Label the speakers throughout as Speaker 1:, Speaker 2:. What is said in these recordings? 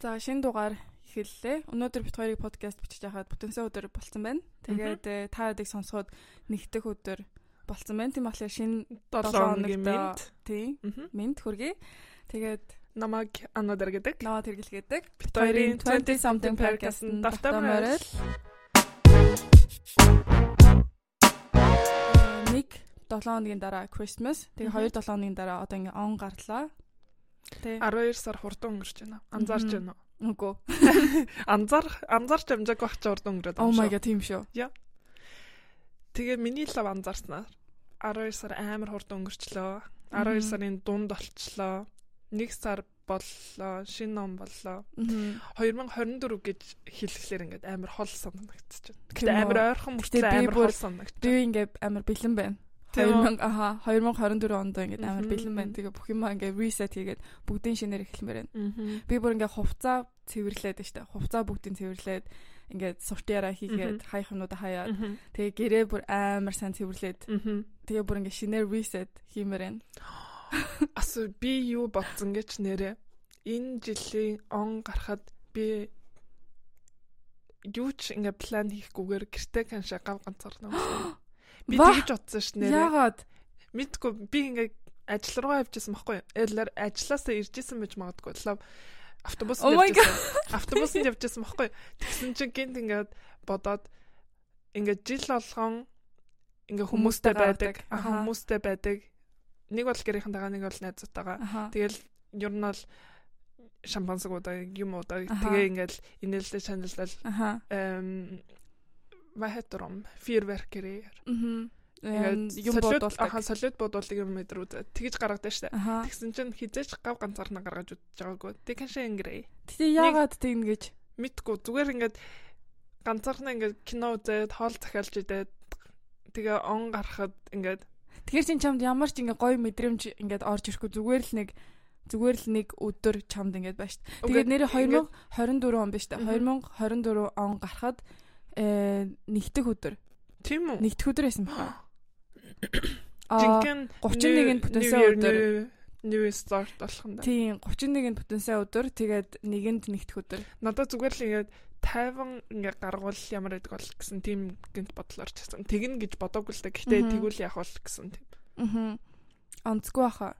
Speaker 1: За шинэ дугаар эхэллээ. Өнөөдөр бит хоёрыг подкаст бичиж байхад бүтэнсэ өдөр болсон байна. Тэгээд э, та хэдийг сонсоход нэгдэх өдөр болсон байна. Тийм болохоор шинэ 7
Speaker 2: Долооногийн
Speaker 1: хоногт
Speaker 2: минт.
Speaker 1: тийм
Speaker 2: Мгм.
Speaker 1: минт хүргэе. Тэгээд
Speaker 2: Намаг анодер гэдэг.
Speaker 1: наваа тэргэлгээдэг. Бит
Speaker 2: хоёрын
Speaker 1: хоёрын 20 something podcast нь давтан
Speaker 2: давтан морил.
Speaker 1: морил. Э, Нэг 7 хоногийн дараа Christmas.
Speaker 2: Мгм.
Speaker 1: Тэгээ 2 7 хоногийн дараа одоо ингээ он гарлаа. Тэ.
Speaker 2: 12 сар хурдан өнгөрч байна. Анзаарч
Speaker 1: Мгм.
Speaker 2: байна уу?
Speaker 1: Үгүй.
Speaker 2: Анзаарах анзаарч амжаагүй байх ч хурдан өнгөрөөд
Speaker 1: Oh my
Speaker 2: шүү.
Speaker 1: god, тийм шүү.
Speaker 2: Тэгээ миний лав анзаарснаар 12 сар амар хурдан өнгөрчлөө. 12
Speaker 1: Мгм.
Speaker 2: сарын дунд олчлоо. 1 сар боллоо. Шинэ ном боллоо.
Speaker 1: Мгм.
Speaker 2: 2024 гэж хэлэхлээр ингээд амар хол санагдчихэж байна.
Speaker 1: Тийм
Speaker 2: Гэтэ амар
Speaker 1: үү?
Speaker 2: ойрхон мөртлөө
Speaker 1: би
Speaker 2: амар
Speaker 1: бүр-
Speaker 2: хол санагдчих.
Speaker 1: Би ингээ амар бэлэн байна.
Speaker 2: Тийм үү?
Speaker 1: 2000 аха 2024 онд ингээд амар
Speaker 2: Мгм.
Speaker 1: бэлэн байна. Тэгээ бүх юм ингээ reset хийгээд бүгдийн шинээр эхлэмээр байна.
Speaker 2: Мгм.
Speaker 1: Би бүр ингээ хувцаа цэвэрлээд штэ. Хувцаа бүгдийн цэвэрлээд ингээд сурт яраа хийгээд хай хэмнүүдэ хаяа.
Speaker 2: Мгм.
Speaker 1: Тэгээ гэрээ бүр амар сайн цэвэрлээд
Speaker 2: Мгм.
Speaker 1: тэгээ бүр ингээ шинээр reset хиймээр байна.
Speaker 2: Асуу би юу бодсон гэж нэрэ. Энэ жилийн он гарахад би юу ч ингээ план хийхгүйгээр гэртээ канша гав ганцаарна өнгөрсөн. Би
Speaker 1: Ваа!
Speaker 2: тэгж утсан ш нэрэ.
Speaker 1: Яагаад?
Speaker 2: Мэдгүй би ингээ ажил руу явчихсан байхгүй юу? Эдлэр ажилласаа иржсэн байж магадгүй. Лав автобусд
Speaker 1: Oh my
Speaker 2: явчихсан. Автобусд явчихсан байхгүй юу? Тэгсэн чинь гинт ингээд бодоод ингээ жил болгон ингээ
Speaker 1: Хүмүүстэй
Speaker 2: хүмүүстэй байдаг,
Speaker 1: гаргадаг.
Speaker 2: аха,
Speaker 1: Аха.
Speaker 2: хүмүүстэй байдаг. Нэг бол гэрийнхэнтэйгээ, нэг бол найзуудтайгаа.
Speaker 1: Аха.
Speaker 2: Тэгэл ер нь бол шампансаг удаа юм удаа
Speaker 1: Аха.
Speaker 2: тэгээ ингээл инээлтэй чаналал
Speaker 1: Аха.
Speaker 2: эм вахетром фейерверкээр
Speaker 1: Мгм. Эм, Юм бодуулдаг.
Speaker 2: аха солиод бодуулдаг юм мэдрүүд тэгж гаргадаг штэ
Speaker 1: Аха.
Speaker 2: тэгсэн чинь хизээч гав ганцаар нь гаргаж үтж байгаагүй тэг хашаа ингэрэй
Speaker 1: Тэгээ яагаад тэг ингэж?
Speaker 2: мэдгүй зүгээр ингээд ганцаархнаа ингээд кино үзээд хоол захиалж идээд тэгээ он гарахад ингээд
Speaker 1: Тэгэхээр чин чамд ямар ч ингээ гоё мэдрэмж ингээд орж ирэхгүй зүгээр л нэг зүгээр л нэг өдөр чамд ингээд байна шүү. Тэгээд нэрээ 2024 он биш та.
Speaker 2: Мгм.
Speaker 1: 2024 он гарахад э нэгдэх өдөр.
Speaker 2: тийм үү
Speaker 1: Нэгдэх өдөр байсан байна. Аа
Speaker 2: жинхэнэ
Speaker 1: 31-нд бүтэнсэн өдөр.
Speaker 2: new start болох нь
Speaker 1: Тийм 31-нд бүтэнсэн өдөр. Тэгээд нэгэнд нэгдэх өдөр.
Speaker 2: Надад зүгээр л ингээд 50 ингээ гаргуул ямар гэдэг бол гэсэн тийм гинт бодлоор ч гэсэн тэгнэ гэж бодоогүй л да. Гэхдээ
Speaker 1: Мгм.
Speaker 2: тэгвэл яах бол гэсэн тийм.
Speaker 1: Аа. Онцгүй баха.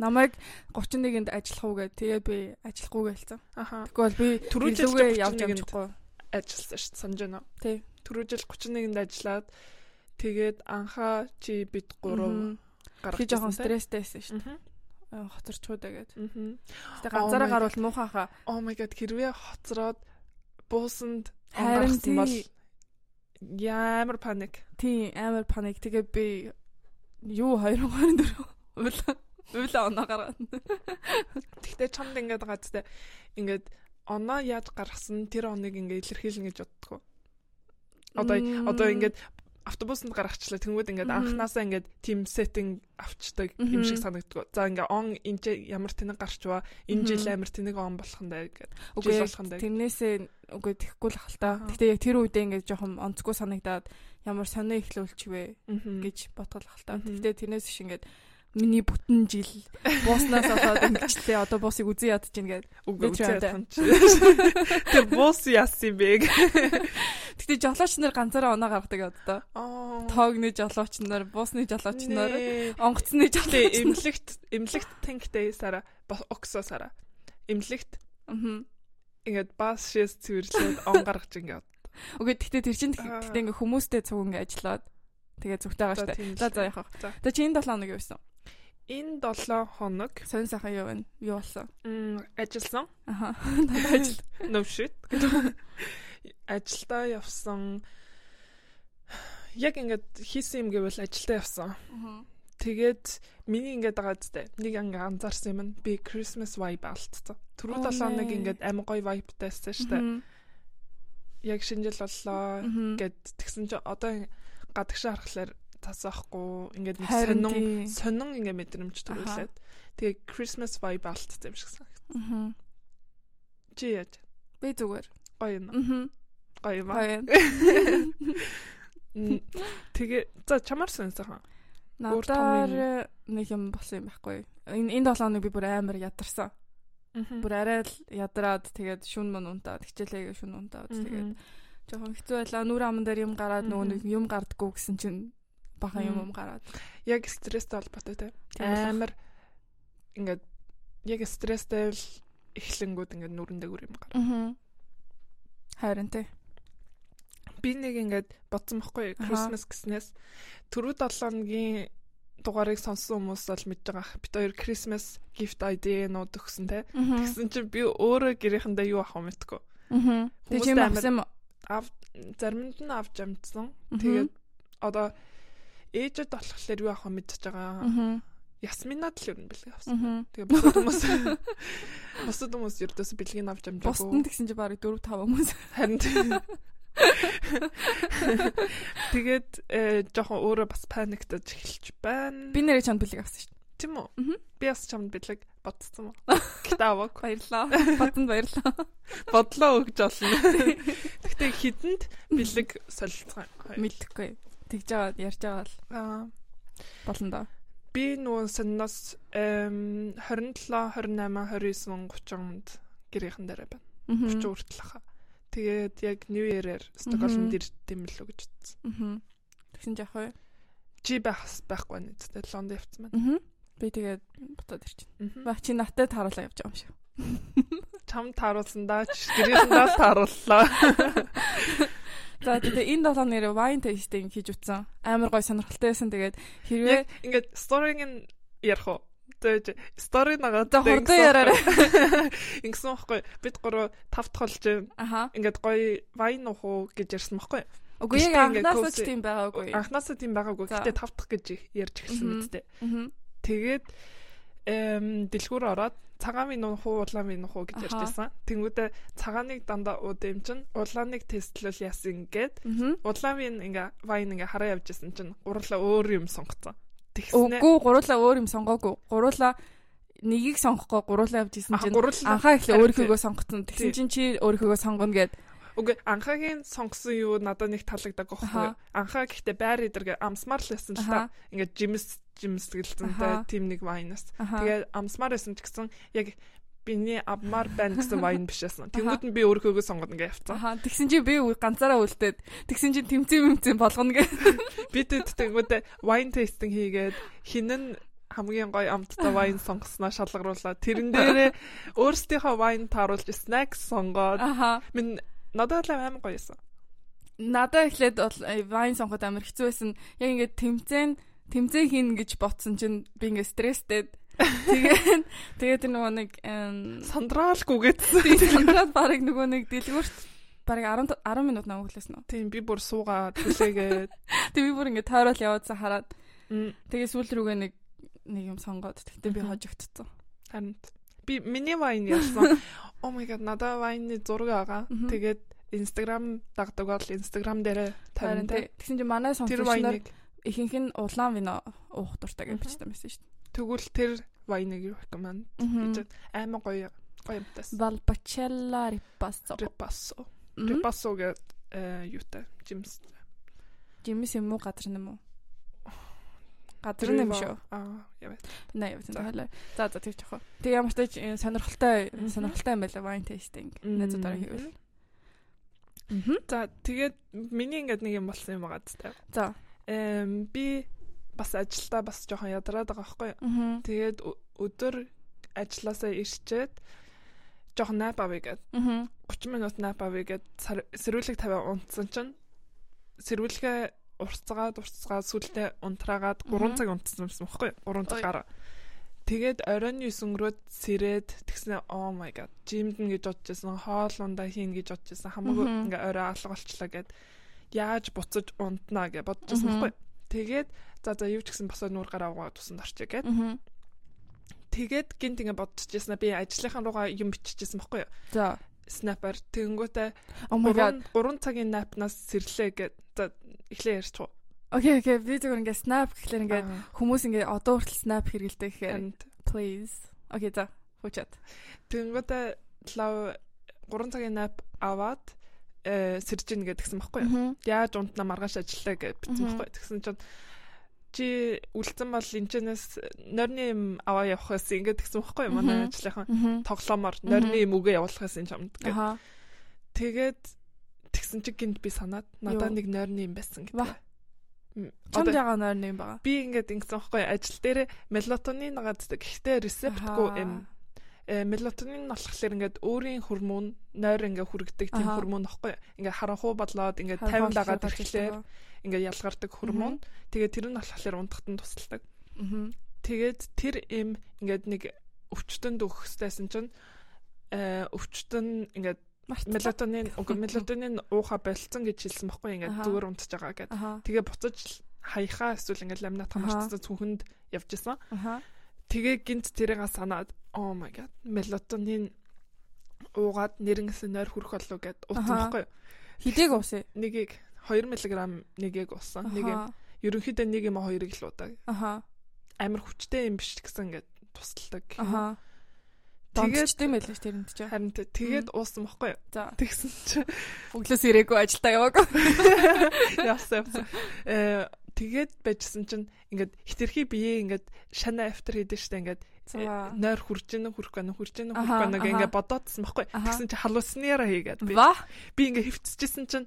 Speaker 1: Намайг 31-нд ажиллах уу гэдэг. Тэгээд би ажиллахгүй гэлцэн.
Speaker 2: Аха.
Speaker 1: Тэгвэл би
Speaker 2: Түрүү жил
Speaker 1: илүүгээ явж
Speaker 2: 31-нд.
Speaker 1: амжихгүй.
Speaker 2: Ажилласан шүү дээ санаж байна уу?
Speaker 1: Тий.
Speaker 2: Түрүү жил 31-нд ажиллаад тэгээд анхаа чи бит 3
Speaker 1: Мгм.
Speaker 2: гаргаж
Speaker 1: Би жоохон
Speaker 2: ирсэн, тий?
Speaker 1: стресстэйсэн шүү.
Speaker 2: Мгм.
Speaker 1: дээ. Хоцорчгүй дагээд.
Speaker 2: Мгм.
Speaker 1: Гэтэ
Speaker 2: Oh
Speaker 1: ганцаараа
Speaker 2: my
Speaker 1: гарвал муухаха.
Speaker 2: Oh my god хэрвээ хоцроод буусанд
Speaker 1: Харин тий.
Speaker 2: гарсан бол ямар паник.
Speaker 1: Тийм амар паник. Тэгээ би юу 2024 уйлаа уйлаа оноо гаргаад.
Speaker 2: Тэгтээ чамд ингээд гацтай ингээд оноо яаж гаргасан тэр оныг ингээд илэрхийлнэ гэж боддгоо. Одоо одоо ингээд автобусанд гаргачлаа тэнгууд ингээд
Speaker 1: Мгм.
Speaker 2: анханасаа ингээд тим сеттинг авчдаг юм шиг санагддаг. За ингээд он энэ ч ямар тэнэг гарчваа энэ жил
Speaker 1: Мгм.
Speaker 2: амар тэнэг он болох нь даа гэдэг.
Speaker 1: үгүй яг
Speaker 2: жил болох нь даа.
Speaker 1: тэрнээсээ үгүй тэхгүй л хальтаа.
Speaker 2: Аха.
Speaker 1: Гэтэ яг тэр үедээ ингээд жоохон онцгүй санагдаад ямар сонио ихлүүлчихвэ
Speaker 2: Гэж
Speaker 1: гэж бодгол хальтаа.
Speaker 2: Мгм.
Speaker 1: Гэтэ тэрнээс шиг ингээд миний бүтэн жил бууснаас болоод ингэчлээ одоо буусыг үзэн ядж гин гэдэг.
Speaker 2: үгүй
Speaker 1: би
Speaker 2: үгүй
Speaker 1: тэрэнтэй.
Speaker 2: танч. Тэр бус яасан бэ?
Speaker 1: Гэтэ жолооч нар ганцаараа оноо гаргадаг одоо.
Speaker 2: Аа.
Speaker 1: Тоогны жолооч нар, буусны жолооч нар,
Speaker 2: Нэ.
Speaker 1: онгоцны
Speaker 2: Тэ
Speaker 1: жолооч нар.
Speaker 2: эмлэгт эмлэгт танктэй сара оксо сара. Эмлэгт
Speaker 1: Мгм.
Speaker 2: ингээд бас шээс цэвэрлээд он гаргаж ингээд.
Speaker 1: Үгүй гэхдээ тэр чинь
Speaker 2: Аа.
Speaker 1: гэхдээ ингээ хүмүүстэй цуг ингээ ажиллаад тэгээ зүгтэй байгаа штэ.
Speaker 2: тийм л
Speaker 1: За за
Speaker 2: дээ.
Speaker 1: яах вэ?
Speaker 2: За.
Speaker 1: Тэ чи энэ 7 хоног юу байсан?
Speaker 2: Энэ 7 хоног
Speaker 1: Сонь сайхан юу байна? Юу болсон?
Speaker 2: м, ажилласан.
Speaker 1: Аха. Надад ажил.
Speaker 2: No shit. Ажилдаа явсан. Яг ингээд хийсэн юм гэвэл ажилдаа явсан. Тэгээд миний ингээд байгаа зүтэй. Нэг ингээд анзаарсан юм нь би Christmas vibe алдсан. Түрүү
Speaker 1: Оо,
Speaker 2: 7 хоног
Speaker 1: нэ.
Speaker 2: ингээд амин гой vibe-тайсан шүү дээ. Яг шинэ жил боллоо
Speaker 1: Гэт
Speaker 2: гэд тэгсэн чи одоо гадагшаа харахаар тасаахгүй ингээд нэг
Speaker 1: Харин
Speaker 2: сонин
Speaker 1: тий.
Speaker 2: сонин ингээд мэдрэмж
Speaker 1: Аха.
Speaker 2: төрүүлээд тэгээд Christmas vibe алдсан юм шиг санагд. Чи яаж?
Speaker 1: би зүгээр.
Speaker 2: Гоё юм. уу?
Speaker 1: Мгм.
Speaker 2: Гоё юм. аа.
Speaker 1: Гоё.
Speaker 2: Мм. Тэгээ за чамаар сонсохон. Өөр
Speaker 1: э,
Speaker 2: том юм.
Speaker 1: Надаар нэг юм болсон юм байхгүй. Энэ энэ 7 хоног би бүр амар ядарсан. Бүр арай л ядраад тэгээд шүн мөн унтаад хичээлээ шүн унтаад тэгээд жоохон хэцүү байлаа. Нүр аман дээр юм гараад нөгөө нэг юм гардггүй гэсэн чинь бахан юм юм гараад.
Speaker 2: яг стресстэй холбоотой те.
Speaker 1: Тийм болох.
Speaker 2: Амар ингээд яг стресстэй л эхлэнгүүд ингээд нүрэндээ үр юм гарна.
Speaker 1: Аа. Харин тий.
Speaker 2: Би нэг ингээд бодсон байхгүй
Speaker 1: Аха.
Speaker 2: Christmas гэснээс түрүү 7 өдрийн дугаарыг сонссон хүмүүс бол мэдж байгаа. ах. Бид хоёр Christmas gift idea нууд өгсөн те.
Speaker 1: Аа.
Speaker 2: Тэгсэн чинь би өөрөө гэрээхэндээ юу авах юм мэдгүй.
Speaker 1: Аа.
Speaker 2: Хүмүүст
Speaker 1: Тэг юм
Speaker 2: амар-
Speaker 1: авсан юм.
Speaker 2: Ав заримд нь авч амжсан.
Speaker 1: Мгм.
Speaker 2: Тэгээд одоо ээжэд болохоор юу авах юм мэдчихэж байгаа.
Speaker 1: Аа.
Speaker 2: Ясминад л ер нь бэлэг авсан.
Speaker 1: Аа.
Speaker 2: Тэгээ бусад хүмүүс бусад хүмүүс ердөөс бэлгийг авч
Speaker 1: Бусдын
Speaker 2: амжаагүй.
Speaker 1: тэгсэн чи барыг 4 5 хүмүүс.
Speaker 2: Харин тэ- тэгээд э, жоохон өөрөө бас паниктаж эхэлж байна.
Speaker 1: Би нэрээ чанд бүлэг авсан шүү.
Speaker 2: тийм үү?
Speaker 1: Мгм.
Speaker 2: Би бас чамд бэлэг бодсон уу? Гэтавок
Speaker 1: Баярлаа. Батанд баярлаа.
Speaker 2: бодлоо өгж олно. Гэхдээ хідэнд бэлэг солилцсан. юм.
Speaker 1: Мэдхгүй. Тэгж аваад ярьж байгаа л
Speaker 2: Аа,
Speaker 1: болно доо.
Speaker 2: Би нүүн санаас эм, 27, 28, 29, 30-нд гэрийнхэн дээр байна. 30 хүртэл хаа. Тэгээд яг New Year-ээр Стокгольмд
Speaker 1: Мгм.
Speaker 2: ирдэм билүү гэж утсан.
Speaker 1: Аа. Тэгсэн чи явах уу?
Speaker 2: Жи байх бас байхгүй нь тэгээд Лондон явцсан байна.
Speaker 1: Аа. Би тэгээд бутад ирчих.
Speaker 2: Мгм.
Speaker 1: Баг чи наттай тааруулаа явж байгаа юм шиг.
Speaker 2: Чам тааруулсан даа ч гэрээсээ таарууллаа.
Speaker 1: За тэгээ энэ долоо нэр wine tasting хийж утсан. Амар гой сонирхолтой байсан. Тэгээд хэрвээ
Speaker 2: Яг ингээд сториг нь ярих уу? Тэгээд стори нагаад
Speaker 1: За, хурдан яраарай.
Speaker 2: Ингэсэн байхгүй. Бид гурав тав дахь болж
Speaker 1: аха.
Speaker 2: ингээд гоё вайн уух уу гэж ярьсан байхгүй.
Speaker 1: Угүй яг
Speaker 2: Гэхдээ ингээд
Speaker 1: анхнаасаа ч
Speaker 2: cozy-
Speaker 1: тийм байгаагүй. Аа.
Speaker 2: Анхнаасаа тийм байгаагүй.
Speaker 1: За.
Speaker 2: Гэтэ тав дахь гэж ярьж эхэлсэн
Speaker 1: Мгм.
Speaker 2: мэдтэй. Тэгээд эм дэлгүүр ороод цагаан минь нуух уу, улаан минь нуух уу
Speaker 1: Аха.
Speaker 2: гэж ярьжсэн. Тэнгүүдээ цагааныг дандаа ууд юм чинь улааныг тестлэл яасан ингээд
Speaker 1: Аа.
Speaker 2: улаан минь ингээ вайн ингээ хараа явж исэн чинь гурлаа өөр юм сонгоцсон. Тэгснэ.
Speaker 1: Үгүй гуруула өөр юм сонгоогүй. Гуруула нэгийг сонгохгүй гуруула явж исэн
Speaker 2: Ах
Speaker 1: чинь
Speaker 2: гурлаа.
Speaker 1: анхаа эхлээ
Speaker 2: Харин
Speaker 1: өөрхийгөө сонгоцсон. Тэгсэн чинь чи өөрхийгөө сонгоно гэд.
Speaker 2: Үгүй анхаагийн сонгосон юу надад нэг таалагдаагүй байхгүй.
Speaker 1: Аха.
Speaker 2: юу? Анхаа гэхдээ байр эдэргээ амсмаар л байсан л та.
Speaker 1: Аха.
Speaker 2: Ингээ жимс
Speaker 1: Аха.
Speaker 2: жимсгэлцэнтэй тим нэг вайнаас.
Speaker 1: Аха.
Speaker 2: Тэгээд амсмаар байсан ч гэсэн яг биний аммаар байна гэсэн вайн биш байсан. Тэнгүүд нь би өөрхөөгөө сонгоод ингээ явцсан.
Speaker 1: Аха. Тэгсэн чи би үе- ганцаараа үлдээд тэгсэн чи тэмцэн мэмцэн болгоно гэ.
Speaker 2: Би тэт тэнгүүдээ вайн тестинг хийгээд хинэн хамгийн гоё амттай вайн сонгосноо шалгарууллаа. Тэрэн дээрээ өөрсдийнхөө вайн тааруулж снэк сонгоод
Speaker 1: Аха.
Speaker 2: минь надад л амар гоё байсан.
Speaker 1: Надаа эхлээд бол э, вайн сонгоход амар хэцүү байсан. Яг ингээд тэмцэн тэмцэн хийн гэж ботсон чинь би ингээд стресстэй. Тэгээд тэгээд тэр нөгөө нэг эм,
Speaker 2: Сандраалгүйгээд
Speaker 1: тэгээд барыг нөгөө нэг дэлгүүрт барыг 10 10 минут намайг хүлээсэн үү.
Speaker 2: тийм би бүр суугаад хүлээгээд
Speaker 1: Тэгээд би бүр ингээд тойрол яваадсан хараад
Speaker 2: м,
Speaker 1: тэгээд сүүл рүүгээ нэг нэг юм сонгоод тэгтээ би
Speaker 2: Мгм.
Speaker 1: хожигдсон.
Speaker 2: Харин би миний вайн яасан. Oh my god, надаа вайны зураг агаа.
Speaker 1: Мгм.
Speaker 2: Тэгээд Instagram дагдаг бол Instagram дээрээ
Speaker 1: Харин
Speaker 2: тавина те.
Speaker 1: тий. Тэгсэн чинь манай
Speaker 2: Тэр
Speaker 1: сонсогчдоор
Speaker 2: вайныг
Speaker 1: ихэнх нь улаан вино уух дуртай гэж
Speaker 2: Мгм.
Speaker 1: бичсэн байсан шүү
Speaker 2: тэгвэл тэр вайныг recommend
Speaker 1: дээ.
Speaker 2: гэж аймаг гоё гоё юмтайс.
Speaker 1: Valpacella ripasso.
Speaker 2: Repasso.
Speaker 1: Мгм.
Speaker 2: Repasso гэдэг э, юутай Джимс.
Speaker 1: Жимс юм уу газар нэм үү? Газар нэм шүү.
Speaker 2: Аа, яваа.
Speaker 1: Наа явсан
Speaker 2: За.
Speaker 1: тайлаа. За за тэгж явах. Тэг ямар ч тач э, сонирхолтой
Speaker 2: Мгм.
Speaker 1: сонирхолтой юм байлаа wine tasting.
Speaker 2: Мм.
Speaker 1: Нэг удаа хийвэл. Мгм.
Speaker 2: За, тэгээд миний ингээд нэг юм болсон юм байгаа зү.
Speaker 1: За.
Speaker 2: Эм би бас ажилдаа бас жоохон ядраад байгаа байхгүй юу?
Speaker 1: Мгм.
Speaker 2: Тэгээд ö- өдөр ажилласаа ирчээд жоохон nap авъя гэдэг.
Speaker 1: Мгм.
Speaker 2: 30 минут nap авъя гэд сар- сэрүүлэг тавиа унтсан чинь сэрүүлгээ урцгаад урцгаад сүултээ унтраагаад 3
Speaker 1: Мгм.
Speaker 2: цаг унтсан юмсан баггүй 3 цаг
Speaker 1: Ой.
Speaker 2: гараа. Тэгээд оройн 9 өнгөрөөд сэрээд тэгснэ oh my god жимдэн гэж бодчихсон хоол ундаа хийн гэж бодчихсон хамаагүй
Speaker 1: Мгм.
Speaker 2: ингээ орой алга болчлаа гэд яаж буцаж унтнаа гэж бодчихсон
Speaker 1: Мгм.
Speaker 2: баггүй. Тэгээд за за юу ч гэсэн босоод нүүр гараа угаа тусан дорчё гэд.
Speaker 1: Мгм.
Speaker 2: Тэгээд гинт ингээ бодчихжээснэ би ажлынхан руугаа юм биччихсэн баггүй юу?
Speaker 1: За.
Speaker 2: Снайпер тэнгүүтээ
Speaker 1: Oh my god.
Speaker 2: 3 цагийн напнаас сэрлээ гэд за эхлээ ярьч уу.
Speaker 1: Окей окей би зөвхөн ингээ snap гэхлээр ингээ
Speaker 2: Ингээд
Speaker 1: хүмүүс ингээ одоо хүртэл snap хэрэгэлдэг гэхээр
Speaker 2: and
Speaker 1: please. Окей за. Хүчээд.
Speaker 2: тэнгүүтээ лав 3 цагийн нап аваад э сэрж гин гэдгсэн баггүй юу. Яаж унтна маргааш ажиллаа гэж битсэн
Speaker 1: Мгм.
Speaker 2: баггүй. Тэгсэн чинь чи үлдсэн бол энэчнээс норны юм аваа явахаас ингээд гэсэн үхгүй юм
Speaker 1: Мгм.
Speaker 2: манай ажлынхан
Speaker 1: Мгм.
Speaker 2: тоглоомор
Speaker 1: Мгм.
Speaker 2: норны юм үгээ явуулахаас энэ чамд гэх.
Speaker 1: Аха.
Speaker 2: Тэгээд тэгсэн чи гинт би санаад надаа
Speaker 1: Юу?
Speaker 2: нэг нойрны юм байсан гэдэг.
Speaker 1: Ва.
Speaker 2: М,
Speaker 1: Чамд
Speaker 2: одоо
Speaker 1: ягаа нойр нэм байгаа.
Speaker 2: Би ингээд ингэсэн байхгүй ажил дээр мелатонин гаддаг. Гэхдээ рецептгүй
Speaker 1: Аха.
Speaker 2: юм. Э, Мелатонин нь болохоор ингээд өөрийн хормон нойр ингээд хүргдэг тийм
Speaker 1: Аха.
Speaker 2: хормон байхгүй. Ингээд харанхуу бодлоод ингээд
Speaker 1: Харин хоол
Speaker 2: таймлаагаад
Speaker 1: шалгаж
Speaker 2: ирэхлээр
Speaker 1: байгаа.
Speaker 2: ингээд ялгардаг хормон. Тэгээд тэр нь болохоор унтахад нь тусалдаг.
Speaker 1: Мгм.
Speaker 2: Тэгээд тэр им ингээд нэг өвчтөнд өгөхтэйсэн чинь э өвчтөн ингээд
Speaker 1: Мартлаа.
Speaker 2: мелатонин үгүй мелатонин ууха болцсон гэж хэлсэн байхгүй
Speaker 1: Аха.
Speaker 2: ингээд зүгээр унтж байгаа гэдэг.
Speaker 1: Аха.
Speaker 2: Тэгээ буцаж л хаяхаа эсвэл ингээд ламинат хамаарцсан цүнхэнд явж исэн.
Speaker 1: Аха.
Speaker 2: Тэгээ гинт тэрийг санаад oh my god мелатонин уугаад нэрнгэсэн нойр хүрэх болов гэд утсан
Speaker 1: Аха.
Speaker 2: байхгүй юу?
Speaker 1: Хидийг уусаа.
Speaker 2: Нэгийг 2 мг нэгийг уусан. Нэг юм.
Speaker 1: Аха.
Speaker 2: Ерөнхийдөө нэг юм хоёрыг л удаа.
Speaker 1: Аха.
Speaker 2: Амар хүчтэй юм биш гэсэн ингээд тусалдаг.
Speaker 1: Аха.
Speaker 2: Тэгээд-
Speaker 1: Дондчтэй мэл л тэрэнд ч.
Speaker 2: Харин тэ- тэгээд уусан байхгүй юу?
Speaker 1: За.
Speaker 2: Тэгсэн чи
Speaker 1: Өглөөс ирээгүй ажилдаа яваагүй.
Speaker 2: явсан явсан. Э тэгээд байжсэн чинь ингээд хитрхи бие ингээд шана автер хийдэж штэ ингээд
Speaker 1: За.
Speaker 2: э, нойр хурж ийн хурх гэнэ хурж ийн хурх
Speaker 1: Аха,
Speaker 2: гэнэ
Speaker 1: аха.
Speaker 2: ингээд бодоодсан байхгүй.
Speaker 1: Аха.
Speaker 2: Тэгсэн чи халууснараа хийгээд би
Speaker 1: Ва.
Speaker 2: би ингээд хөвцөжсэн чинь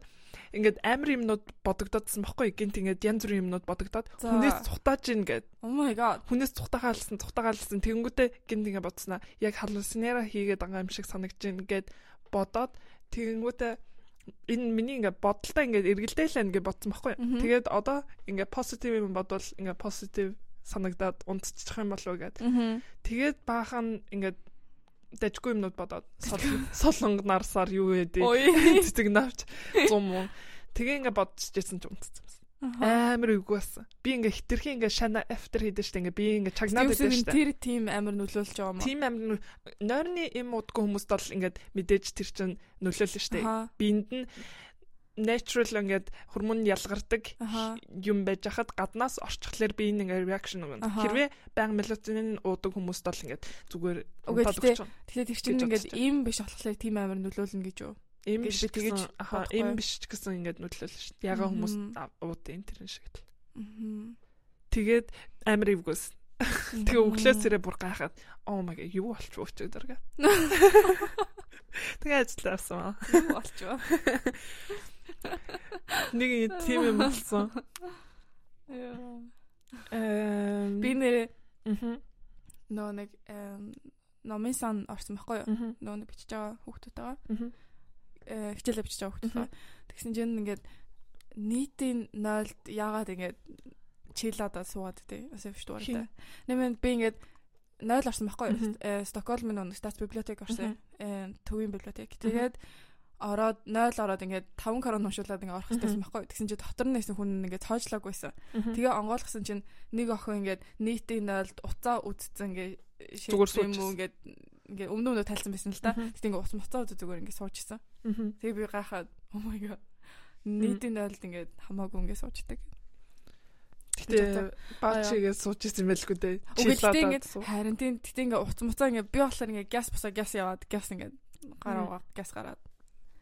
Speaker 2: ингээд амар юмнууд бодогдоодсан байхгүй. Гинт ингээд янз бүрийн юмнууд бодогдоод
Speaker 1: За.
Speaker 2: хүнээс цухтааж ийн гэд
Speaker 1: Oh my god.
Speaker 2: хүнээс цухтаагаалсан цухтаагаалсан тэгэнгүүтээ гинт ингээд бодснаа яг халууснараа хийгээд байгаа юм шиг санагдаж ийн гэд бодоод тэгэнгүүтээ энэ миний ингээд бодолтой ингээд эргэлдэйлээ ингээд бодсон байхгүй.
Speaker 1: Мгм.
Speaker 2: Тэгээд одоо ингээд позитив юм бодвол ингээд позитив санагдаад унтчих юм болов гэдэг.
Speaker 1: Мгм.
Speaker 2: Тэгээд баахан ингээд дажгүй юмнууд бодоод сол- солонг нарсаар юу гэдэг
Speaker 1: Ой.
Speaker 2: цэцэг навч зум уу. Тэгээ ингээд бодчихжээсэн ч унтцсан. Амар үгүй басан. Би ингээд хитрхи ингээд шана after хийдэж штэ ингээд би ингээд чагнаад
Speaker 1: Тэгвэл
Speaker 2: байдаг
Speaker 1: энэ
Speaker 2: штэ.
Speaker 1: тэр тим амар нөлөөлж байгаа юм.
Speaker 2: Тим амир нойрны юм удахгүй хүмүүст бол ингээд мэдээж тэр чинь нөлөөлнө штэ.
Speaker 1: Аха.
Speaker 2: биэнд нь natural ингээд хормон ялгардаг
Speaker 1: Аха.
Speaker 2: юм байж хахад гаднаас орчхлоор би энэ ингээд reaction өгнө.
Speaker 1: Аха.
Speaker 2: Хэрвээ баян мелатонин уудаг хүмүүс бол ингээд зүгээр
Speaker 1: Үгүй
Speaker 2: унтаад
Speaker 1: гэхдээ-
Speaker 2: өгчихнэ.
Speaker 1: Тэгэхээр тэр чинь
Speaker 2: гэж
Speaker 1: ингээд
Speaker 2: бодчихдаг.
Speaker 1: им биш болохлээр тим амар нөлөөлнө гэж юу?
Speaker 2: Им
Speaker 1: гэж
Speaker 2: биш
Speaker 1: би тэгэж
Speaker 2: тэгэж аха
Speaker 1: бодохгүй.
Speaker 2: им биш ч гэсэн ингээд нөлөөлөл шүү дээ. Ягаан хүмүүс
Speaker 1: Мгм.
Speaker 2: ав- ууд энэ тэр шиг л.
Speaker 1: Мгм.
Speaker 2: Тэгээд амар эвгүйс. Тэгээ
Speaker 1: Мгм.
Speaker 2: өглөөс өрөө бүр гайхаад оо мага юу болчих вэ ч гэдэг. Тэгээ ажиллаа авсан. аа.
Speaker 1: болчихоо.
Speaker 2: Нэг тийм юм болсон. Эм
Speaker 1: Би нэрээ
Speaker 2: мгм.
Speaker 1: нөө нэг эм, номын сан орсон байхгүй юу?
Speaker 2: Мгм.
Speaker 1: Нөө нэг бичиж байгаа хүүхдүүд байгаа.
Speaker 2: Мгм.
Speaker 1: э, хичээлээ бичиж байгаа хүмүүс байна. Тэгсэн чинь ингээд нийтийн 0-д яагаад ингээд чилаада суугаад тий. Бас явж дуурайтай. Нэмээд би ингээд 0 орсон байхгүй юу?
Speaker 2: Мгм.
Speaker 1: Э, Стокгольмын нэг стат библиотек орсон.
Speaker 2: Мгм.
Speaker 1: Э, төвийн библиотек. Тэгээд ороод 0 ороод ингээд 5 крон уншуулад ингээд орох хэрэгтэйсэн
Speaker 2: Мгм.
Speaker 1: байхгүй юу? Тэгсэн чинь дотор нь нэсэн хүн нь ингээд цоожлоог байсан.
Speaker 2: Мгм.
Speaker 1: Тэгээ онгойлгосон чинь нэг охин ингээд нийтийн 0-д уцаа үдцэн ингээд
Speaker 2: Зүгээр
Speaker 1: шийдсэн юм
Speaker 2: суучихсан.
Speaker 1: уу ингээд ингээд өмнө өмнө тайлсан байсан л да.
Speaker 2: Мгм.
Speaker 1: Тэгт ингээд уц муцаа үдэ зүгээр ингээд суучсан.
Speaker 2: Мгм.
Speaker 1: Тэгээ би гайхаад oh my god. Нийтийн ойлд ингээд хамаагүй ингээд суучдаг.
Speaker 2: Гэтэ
Speaker 1: Аа, яа.
Speaker 2: баачигээ сууж ирсэн байлгүй дээ.
Speaker 1: Өгөлтэй ингээд харин тийм тэгтээ ингээд уц муцаа ингээд би болохоор ингээд газ бусаа газ яваад газ ингээд гараагаа газ гараад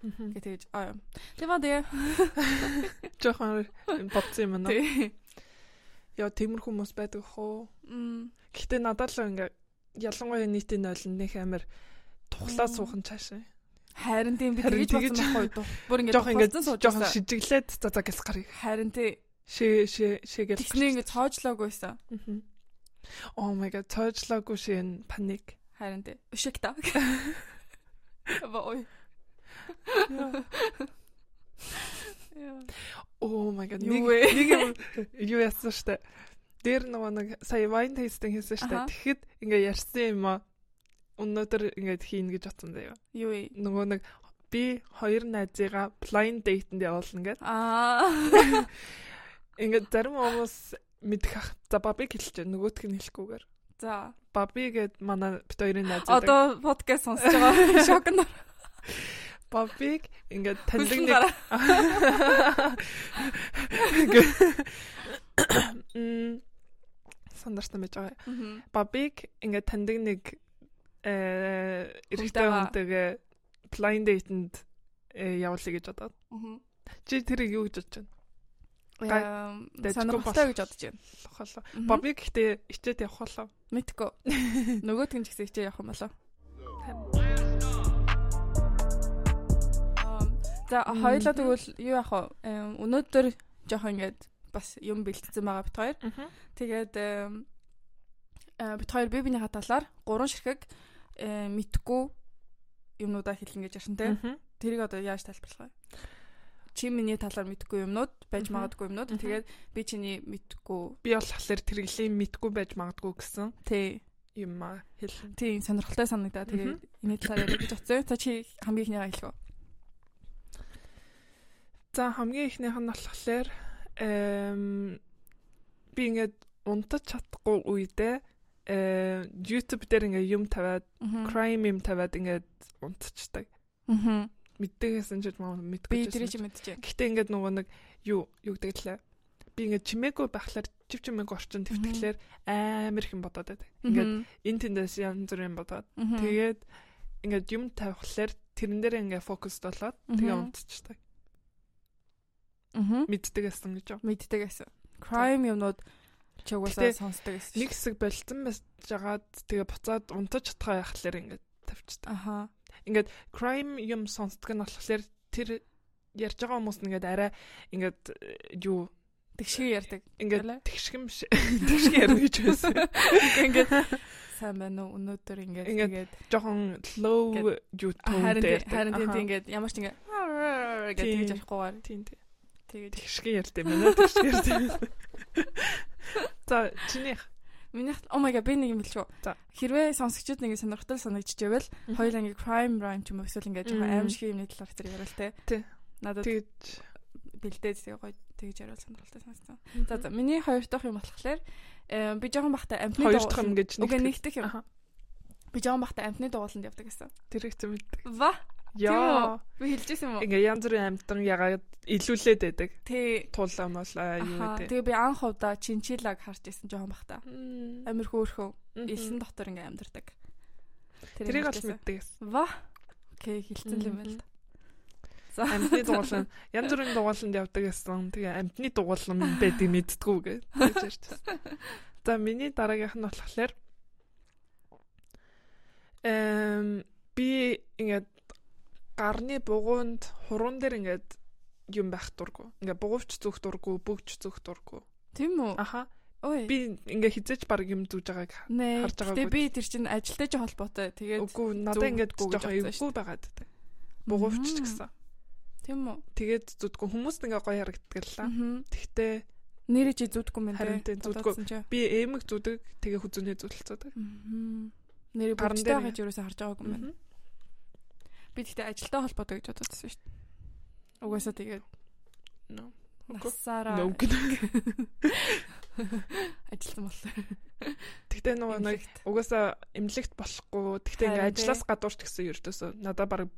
Speaker 2: ингээд
Speaker 1: ингээд тэгэж аа юм. Тийм ба дээ.
Speaker 2: жоохон бодсон юм аа.
Speaker 1: Тий.
Speaker 2: Яа темир хүмүүс байдаг хөө.
Speaker 1: Мм.
Speaker 2: Гэтэ надад л ингээд ялангуяа нийтийн нойлн нөх амир тухлаа
Speaker 1: Мм.
Speaker 2: суухан цаашаа.
Speaker 1: Харин тийм би
Speaker 2: Харин
Speaker 1: тэгэж
Speaker 2: тэгэж-
Speaker 1: болсон байхгүй юу? Бүр ингээд
Speaker 2: Жохон ингээд
Speaker 1: тохиолдсон
Speaker 2: жоохон
Speaker 1: суучсан.
Speaker 2: шижиглээд за за гис гарыг.
Speaker 1: Харин тий.
Speaker 2: Шээ шээ шээгээл.
Speaker 1: Тэгснээ ингээд цоожлоог байсан.
Speaker 2: Мгм. Oh my god, цойжлаагүй шин паник.
Speaker 1: Харин тий. Өшиг та. Баой. Яа.
Speaker 2: Oh my god.
Speaker 1: Юу
Speaker 2: Нэг
Speaker 1: вэ?
Speaker 2: нэг юм юу яасан штэ. Дээр нөгөө нэг сая wine tasting хийсэн штэ.
Speaker 1: Аха.
Speaker 2: Тэгэхэд ингээ ярьсан юм аа. Өнөөдөр ингээд хийн гэж бодсон заяа.
Speaker 1: Юу вэ?
Speaker 2: Нөгөө нэг би хоёр найзыгаа blind date-энд явуулна гэд.
Speaker 1: Аа.
Speaker 2: Ингээд зарим хүмүүс мэдэх ах. За бабиг хэлчихэ. Нөгөөтг нь хэлэхгүйгээр.
Speaker 1: За.
Speaker 2: Баби гэд манай бит хоёрын найз байдаг.
Speaker 1: Одоо подкаст сонсож байгаа шок нар
Speaker 2: Бабиг ингээд таньдаг
Speaker 1: хүлэн
Speaker 2: нэг
Speaker 1: гараа.
Speaker 2: М, сандарсан байж байгаа. Бабиг ингээд таньдаг нэг э эрэгтэй
Speaker 1: байгаа.
Speaker 2: хүнтэйгээ blind date-энд э, явуулъя гэж бодоод.
Speaker 1: Мгм.
Speaker 2: Чи тэрийг юу гэж бодож байна?
Speaker 1: Эм,
Speaker 2: дажгүй
Speaker 1: Сонирхолтой гэж бодож байна.
Speaker 2: Лохолоо.
Speaker 1: Мгм.
Speaker 2: Боби гэхдээ ичээд явах болов.
Speaker 1: Мэдгүй. Нөгөөдг нь ч гэсэн хичээ явах юм болоо. Ам, За хоёлаа тэгвэл юу яах вэ? Эм, Өнөөдөр жоохон ингээд бас юм бэлтгэсэн байгаа бит хоёр.
Speaker 2: Мгм.
Speaker 1: Тэгээд эм, э, бит хоёр бие биений хатаалаар гурван ширхэг э, мэдгүй юмнуудаа хэлнэ гэж ярьсан тийм.
Speaker 2: Мгм.
Speaker 1: Тэрийг одоо яаж тайлбарлах вэ? Чи миний талаар мэдгүй юмнууд байж
Speaker 2: Мгм.
Speaker 1: магадгүй юмнууд.
Speaker 2: Мгм.
Speaker 1: Тэгээд би чиний мэдгүй
Speaker 2: Би бол болохоор тэрглийн мэдгүй байж магадгүй гэсэн
Speaker 1: тий
Speaker 2: юм аа хэлнэ.
Speaker 1: тий сонирхолтой санагдаа. Тэгээд энэ талаар ярих гэж утсан. За чи хамгийн ихнийгаа хэлэх үү?
Speaker 2: За хамгийн ихнийх нь болохоор эм би ингээд унтаж чадахгүй үедээ э YouTube дээр ингээд юм тавиад
Speaker 1: Мгм.
Speaker 2: crime юм тавиад ингээд унтчихдаг.
Speaker 1: Мгм.
Speaker 2: Мэддэгсэн ч маа мэдгүй.
Speaker 1: Би
Speaker 2: ч
Speaker 1: тэрийг
Speaker 2: байсан ч.
Speaker 1: чи мэдчихэ.
Speaker 2: Гэхдээ ингээд нөгөө нэг юу юу гэдэг лээ. Би ингээд чимээгүй байхлаар чив чимээг орчин
Speaker 1: Мгм.
Speaker 2: төвтгэлээр амар их юм бодоод байдаг. Ингээд эн тэндээс янз бүрийн бодоод. Тэгээд ингээд юм тавихлаар тэрэн дээр ингээд фокус болоод тэгээ
Speaker 1: Мгм.
Speaker 2: унтчихдаг.
Speaker 1: Мгм.
Speaker 2: Мэддэг гэсэн гэж.
Speaker 1: мэддэг гэсэн. Crime юмнууд чугуусаа
Speaker 2: Гэтэ
Speaker 1: сонсдог гэсэн.
Speaker 2: Нэг хэсэг болцсон байж жагаад тэгээ буцаад унтаж чадхаа яхахлаар ингээд тавьчихдаг.
Speaker 1: Аха.
Speaker 2: Crime юм сонсдог нь болохоор тэр ярьж байгаа хүмүүс нь ингээд арай ингээд э, юу
Speaker 1: Тэгшгийг ярьдаг. Гэлээ?
Speaker 2: ингээд тэгшгэн биш тэгшгэн ярина гэж байсан.
Speaker 1: Ингээд сайн байна уу өнөөдөр ингээд
Speaker 2: Ингээд
Speaker 1: тэгээд
Speaker 2: Жохон low юу
Speaker 1: харин
Speaker 2: төвтэй.
Speaker 1: тий- харин тийм ингээд ямар ч ингээд
Speaker 2: Тийм.
Speaker 1: гэж ярихгүйгээр
Speaker 2: тийм тийм.
Speaker 1: тэгээд
Speaker 2: Тэгшгэн ярьд юм байна. Тэгшгэн ярьд юм. За чинийх.
Speaker 1: минийх oh my god би нэг юм хэлчихв.
Speaker 2: За.
Speaker 1: Хэрвээ сонсогчдод нэг сонирхтол санагдчихвэл хоёул ингээд crime rhyme ч юм уу эсвэл ингээд жоохон
Speaker 2: Мм.
Speaker 1: аим шиг юмны талаар тэр яриа л те.
Speaker 2: Тий.
Speaker 1: Надад
Speaker 2: Тэгж
Speaker 1: бэлдээд тэгээ гоё тэгж яриул сонирхолтой санагдсан. За за миний хоёр дахь юм болохоор э, би жоохон бахтай амтны
Speaker 2: хоёр дахь юм гэж
Speaker 1: Уг
Speaker 2: нэг
Speaker 1: нэгдэх юм.
Speaker 2: Аха.
Speaker 1: Би жоохон бахтай амтны дугууланд явдаг гэсэн.
Speaker 2: тэр их юм мэддэг.
Speaker 1: Ва
Speaker 2: Яа.
Speaker 1: би хэлжсэн юм уу?
Speaker 2: Ингээ янз бүрийн амтан ягаад илүүлээд байдаг.
Speaker 1: Тий.
Speaker 2: Туулаа молаа юу
Speaker 1: Аха.
Speaker 2: гэдэг.
Speaker 1: Тэгээ би анх удаа чинчилаг харж исэн жоохон бахта.
Speaker 2: Мм.
Speaker 1: Амир хөөрхөн элсэн
Speaker 2: Мгм.
Speaker 1: дотор ингээм амьдэрдэг. Тэрийг
Speaker 2: Тэрийг ол
Speaker 1: хэлжсэн.
Speaker 2: мэддэг.
Speaker 1: Ва. Окей, хилцэн л юм байна л да.
Speaker 2: Амтны дугуулсан янз бүрийн дугууланд явдаг гэсэн. Тэгээ амтны дугуулсан байдаг мэддгүү гэж ярьж байна. За миний дараагийнх нь болохоор эм би ингээд гарны бугуунд хуруунд дээр ингээд юм байх дурггүй. Ингээд бугуувч зөөх дурггүй, бөгч зөөх дурггүй.
Speaker 1: Тийм үү?
Speaker 2: Аха.
Speaker 1: Ой.
Speaker 2: Би ингээ хизээч баг юм зүүж байгааг
Speaker 1: Нэ.
Speaker 2: харж байгаагүй.
Speaker 1: Тэгээ би тэр чинь ажилтай чи холбоотой. Тэгээд
Speaker 2: Үгүй надад
Speaker 1: зүг-
Speaker 2: ингээд
Speaker 1: зүгж
Speaker 2: жоохон
Speaker 1: авсан шүү
Speaker 2: эвгүй байгаад тэ. Бугуувч ч
Speaker 1: Мгм.
Speaker 2: гэсэн.
Speaker 1: тийм үү?
Speaker 2: Тэгээд зүтггүй хүмүүст ингээ гоё харагдтгалаа.
Speaker 1: Аа.
Speaker 2: Тэгтээ
Speaker 1: Нэрээ чи зүтгэхгүй мэн
Speaker 2: Харин тий, зүтгүй.
Speaker 1: Аа.
Speaker 2: би эмэг зүдэг тэгээ хүзүүнээ зүтэлцдэг.
Speaker 1: Нэрээ
Speaker 2: Гарн
Speaker 1: бүгдтэй
Speaker 2: дээр
Speaker 1: хаж юусаа харж байгаагүй мэн. Би тэгтээ ажилтай холбоотой гэж бодоодсэн шүү дээ. Угаасаа тэгээд
Speaker 2: Нөө.
Speaker 1: насаараа ажилтсан болсон.
Speaker 2: Тэгтээ нөгөө нэг
Speaker 1: Эмнэлэгт.
Speaker 2: угаасаа эмнэлэгт болохгүй. Тэгтээ ингээ
Speaker 1: Харин тий.
Speaker 2: ажлаас гадуурч гэсэн ердөөсөө надад баг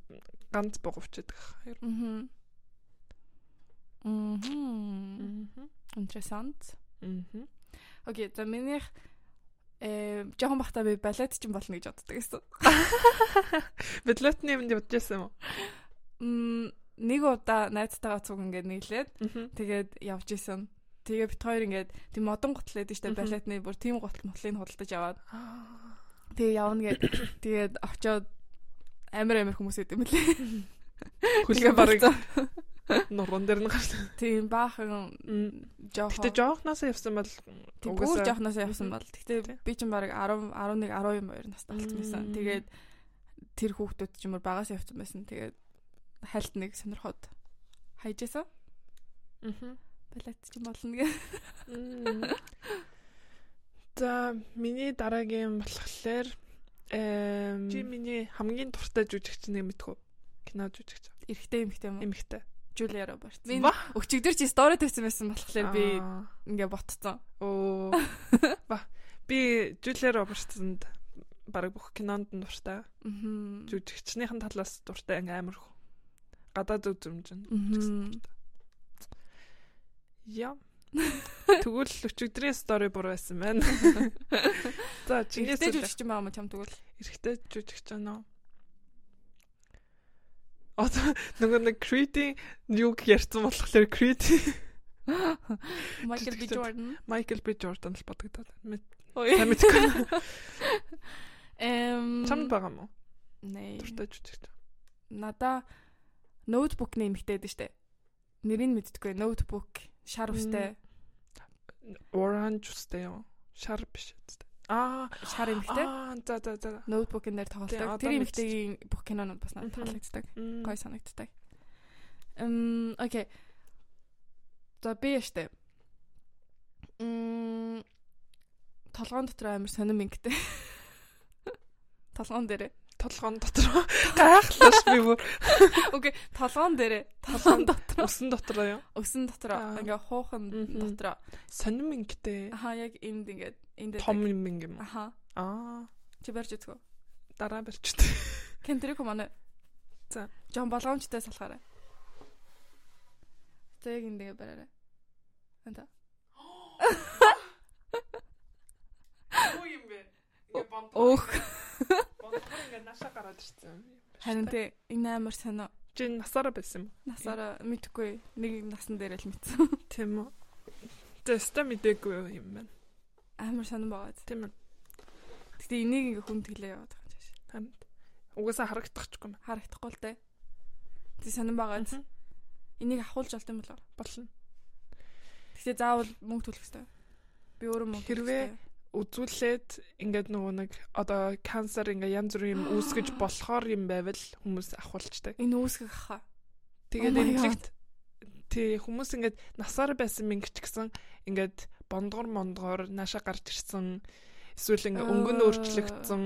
Speaker 2: ганц бугуувчдаг. Хоёр.
Speaker 1: Мгм. Мгм. Interessant.
Speaker 2: Мгм.
Speaker 1: Окей, за минийх э жоохон бахта би балет ч юм болно гэж боддог гэсэн.
Speaker 2: Бэдлотны юмд бодож байсан юм уу?
Speaker 1: Мм нэг удаа найзтайгаа цуг ингээд нийлээд
Speaker 2: Мгм.
Speaker 1: тэгээд явж исэн. Тэгээ бит хоёр ингээд тийм модон гутал байдаг штэ
Speaker 2: Мгм.
Speaker 1: балетны бүр тийм гутал мутлыг худалдаж аваад
Speaker 2: Аа.
Speaker 1: тэгээ явна гэд тэгээд очиод амар амар хүмүүс идэв юм лээ.
Speaker 2: Хүлгээ барыг нуруунд дэр нь гарсан.
Speaker 1: тийм баахан
Speaker 2: Мм.
Speaker 1: жоохон
Speaker 2: Тэгтээ жоохноос явсан бол
Speaker 1: Тийм бүр жоохноос явсан
Speaker 2: Мгм.
Speaker 1: бол. Гэхдээ
Speaker 2: Тийм.
Speaker 1: би ч юм баг 10 11 12 мөр настай болсон байсан.
Speaker 2: Мм.
Speaker 1: Тэгээд тэр хүүхдүүд ч юм уу багаас явсан байсан. Тэгээд хальт нэг сонирхоод хайжээсэн.
Speaker 2: Мгм.
Speaker 1: Балет ч юм болно гэх.
Speaker 2: Мм. За миний дараагийн болохоор эм чи миний хамгийн дуртай жүжигч нэ мэдэх үү? Кино жүжигч.
Speaker 1: Эрэгтэй эмэгтэй юм уу?
Speaker 2: Эмэгтэй.
Speaker 1: Жулиаро барьц. Би
Speaker 2: Ба.
Speaker 1: өчигдөр чи стори тавьсан байсан болохоор би
Speaker 2: Аа.
Speaker 1: ингээ ботцсон.
Speaker 2: оо ба би Жюлье Робертсонд баг бүх кинонд нь дуртай.
Speaker 1: Мгм.
Speaker 2: Жүжигчнийхэн талаас дуртай ингээ амар хөө. Гадаа зүг зүмжин.
Speaker 1: Мгм.
Speaker 2: Яа. Тэгвэл өчигдрийн стори буруу байсан байна. За чиний
Speaker 1: Эрэгтэй
Speaker 2: сүүлээ.
Speaker 1: жүжигч юм аа чам тэгвэл.
Speaker 2: эрэгтэй жүжигч байна уу? Одоо нөгөө нэг Creed-ийн юг ярьсан болохоор Creed
Speaker 1: Michael B
Speaker 2: Жижигчэн.
Speaker 1: Jordan.
Speaker 2: Майкл Би Джордан л бодогдоод. Мэд-
Speaker 1: Ой.
Speaker 2: та Мэдгүй.
Speaker 1: Эм.
Speaker 2: Чамд байгаа мó.
Speaker 1: Нэ.
Speaker 2: Дуртай жүжигч.
Speaker 1: Надаа ноутбук нэмэгтэй дээ штэ. Нэрийг нь мэддэггүй. Ноутбук шар устай,
Speaker 2: Orange үстэй юу? Шар биш үстэй. Аа,
Speaker 1: шар эмэгтэй.
Speaker 2: аа, за за за.
Speaker 1: Ноутбукын дээр
Speaker 2: Тийм,
Speaker 1: тоглолдог.
Speaker 2: одоо
Speaker 1: Тэр эмэгтэйгийн бүх кинонууд бас надад
Speaker 2: Мгм.
Speaker 1: таалагддаг.
Speaker 2: Мм.
Speaker 1: Гой санагддаг. Эм, окей. За би яштэй. Мм толгоон дотор амар сонирм ингэтэй. Толгоон дээрээ.
Speaker 2: толгоон дотор гайхлааш би бүр
Speaker 1: Окей, толгоон дээрээ. Толгоон дотор.
Speaker 2: усан дотор юу?
Speaker 1: Өсөн дотор
Speaker 2: Аа.
Speaker 1: ингээ хуухан
Speaker 2: Мгм.
Speaker 1: дотор.
Speaker 2: Сонин мингтэй.
Speaker 1: Аха яг энд ингээ энд
Speaker 2: Том минг юм уу?
Speaker 1: Аха.
Speaker 2: Аа,
Speaker 1: Чи барьж үзгөө.
Speaker 2: дараа барьчихдээ.
Speaker 1: Кентрик манай.
Speaker 2: За.
Speaker 1: Жон болгоомжтой салахаарай. За яг энд ингээ бараарай. Анта.
Speaker 2: Юу юм бэ? Ингээ бомб.
Speaker 1: Өөх.
Speaker 2: Бомб ингээ наша гараад ирсэн.
Speaker 1: Харин тэ энэ амар сонио.
Speaker 2: чи насаараа байсан юм.
Speaker 1: Насаараа мэдгүй нэг насан дээр л мэдсэн.
Speaker 2: уу? Тийм үү? Тэстэ мэдээгүй юм байна.
Speaker 1: Амар сонирн байгаад.
Speaker 2: Тийм үү?
Speaker 1: Гэтэ энийг ингээ хүн тэлээ яваад байгаа юм шиг.
Speaker 2: Танд угаасаа харагдахчгүй юм.
Speaker 1: Харагдахгүй л дээ. Тэ сонирн байгаад
Speaker 2: Мгм.
Speaker 1: энийг ахуулж олд юм болоо.
Speaker 2: Болно.
Speaker 1: Гэтэ заавал мөнгө төлөх хэрэгтэй. Би өөрөө мөнгө төлөх
Speaker 2: Хэрвээ-
Speaker 1: ёстой.
Speaker 2: Үзүүлээд ингээд нөгөө нэг одоо канцер ингээ янз бүрийн юм үүсгэж болохоор юм байвал хүмүүс ахуулчдаг.
Speaker 1: энэ үүсгэх хаа.
Speaker 2: Тэгээд
Speaker 1: Oh my
Speaker 2: эмчлэгт тий хүмүүс ингээд насаар байсан минь ч гэсэн ингээд бондгор мондгоор нааша гарч ирсэн эсвэл ингээд өнгөн
Speaker 1: Аа.
Speaker 2: өөрчлөгдсөн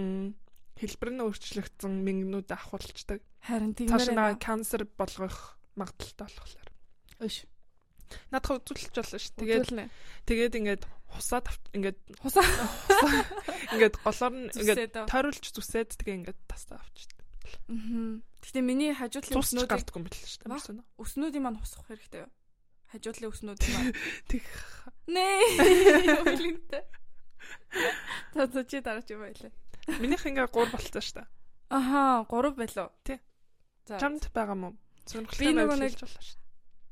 Speaker 2: хэлбэр нь өөрчлөгдсөн мингнүүд ахвалчдаг.
Speaker 1: Харин
Speaker 2: Цааш
Speaker 1: тиймэр
Speaker 2: наа
Speaker 1: байна.
Speaker 2: канцер болгох магадaltaй болохоор.
Speaker 1: Өш.
Speaker 2: Надад үзүүлэлч болно шүү. Тэгээд
Speaker 1: Тэгээд
Speaker 2: тэгээд ингээд хусаад авт- ингээд
Speaker 1: хусаа
Speaker 2: ингээд голоор нь ингээд
Speaker 1: зүсээд.
Speaker 2: тойруулж зүсээд тэгээ ингээд тастаа авчдаг.
Speaker 1: Гэтэ миний хажуудлын
Speaker 2: Цус ч
Speaker 1: өснүүдийг
Speaker 2: гардаггүй юм бэл шүү.
Speaker 1: Ваа.
Speaker 2: Тэсэн үү?
Speaker 1: өснүүдийн маань хусах хэрэгтэй юу? Хажуудлын өснүүд маань.
Speaker 2: Тэг
Speaker 1: Нээ. Үлэнтэй. Та зөв чи дараач юу байлаа?
Speaker 2: минийх ингээд гур болтой шүү.
Speaker 1: Аха, 3 байлоо.
Speaker 2: Тий.
Speaker 1: За.
Speaker 2: Чамд байгаа мó?
Speaker 1: Би
Speaker 2: Сонирхолтой
Speaker 1: нөгөө
Speaker 2: байдлаар
Speaker 1: нэг-
Speaker 2: хэлж болно шүү.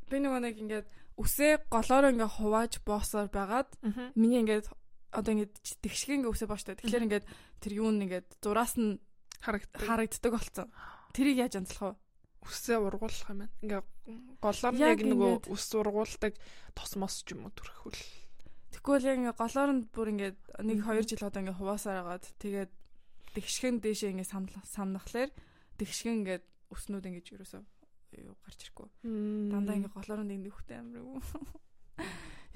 Speaker 1: Би нөгөө нэг ингээд үсээ голоор ингээ хувааж боосоор байгаад
Speaker 2: Мгм.
Speaker 1: миний ингээд одоо ингээд ч- тэгшгэ ингээ үсээ бооштой. Тэгэхээр ингээд тэр юу нь ингээд зураас нь
Speaker 2: харагддаг.
Speaker 1: харагддаг болсон. Тэрийг яаж анзлах вэ?
Speaker 2: Үсээ ургуулах юм байна. Ингээ голоор нь
Speaker 1: Яг
Speaker 2: яг нөгөө
Speaker 1: ингээд.
Speaker 2: ус ургуулдаг тосмос ч юм уу төрөхөл.
Speaker 1: Тэгвэл яг ингээ голоор нь бүр ингээд нэг
Speaker 2: Мгм.
Speaker 1: 2 жил одоо ингээ хуваасаар агаад тэгээд тэгшгэн дээшээ ингээ самнах самнахлаар тэгшгэн ингээд үснүүд ингээд юусоо юу гарч ирэхгүй. Дандаа ингээ голоор нь нэг нүхтэй амир үү.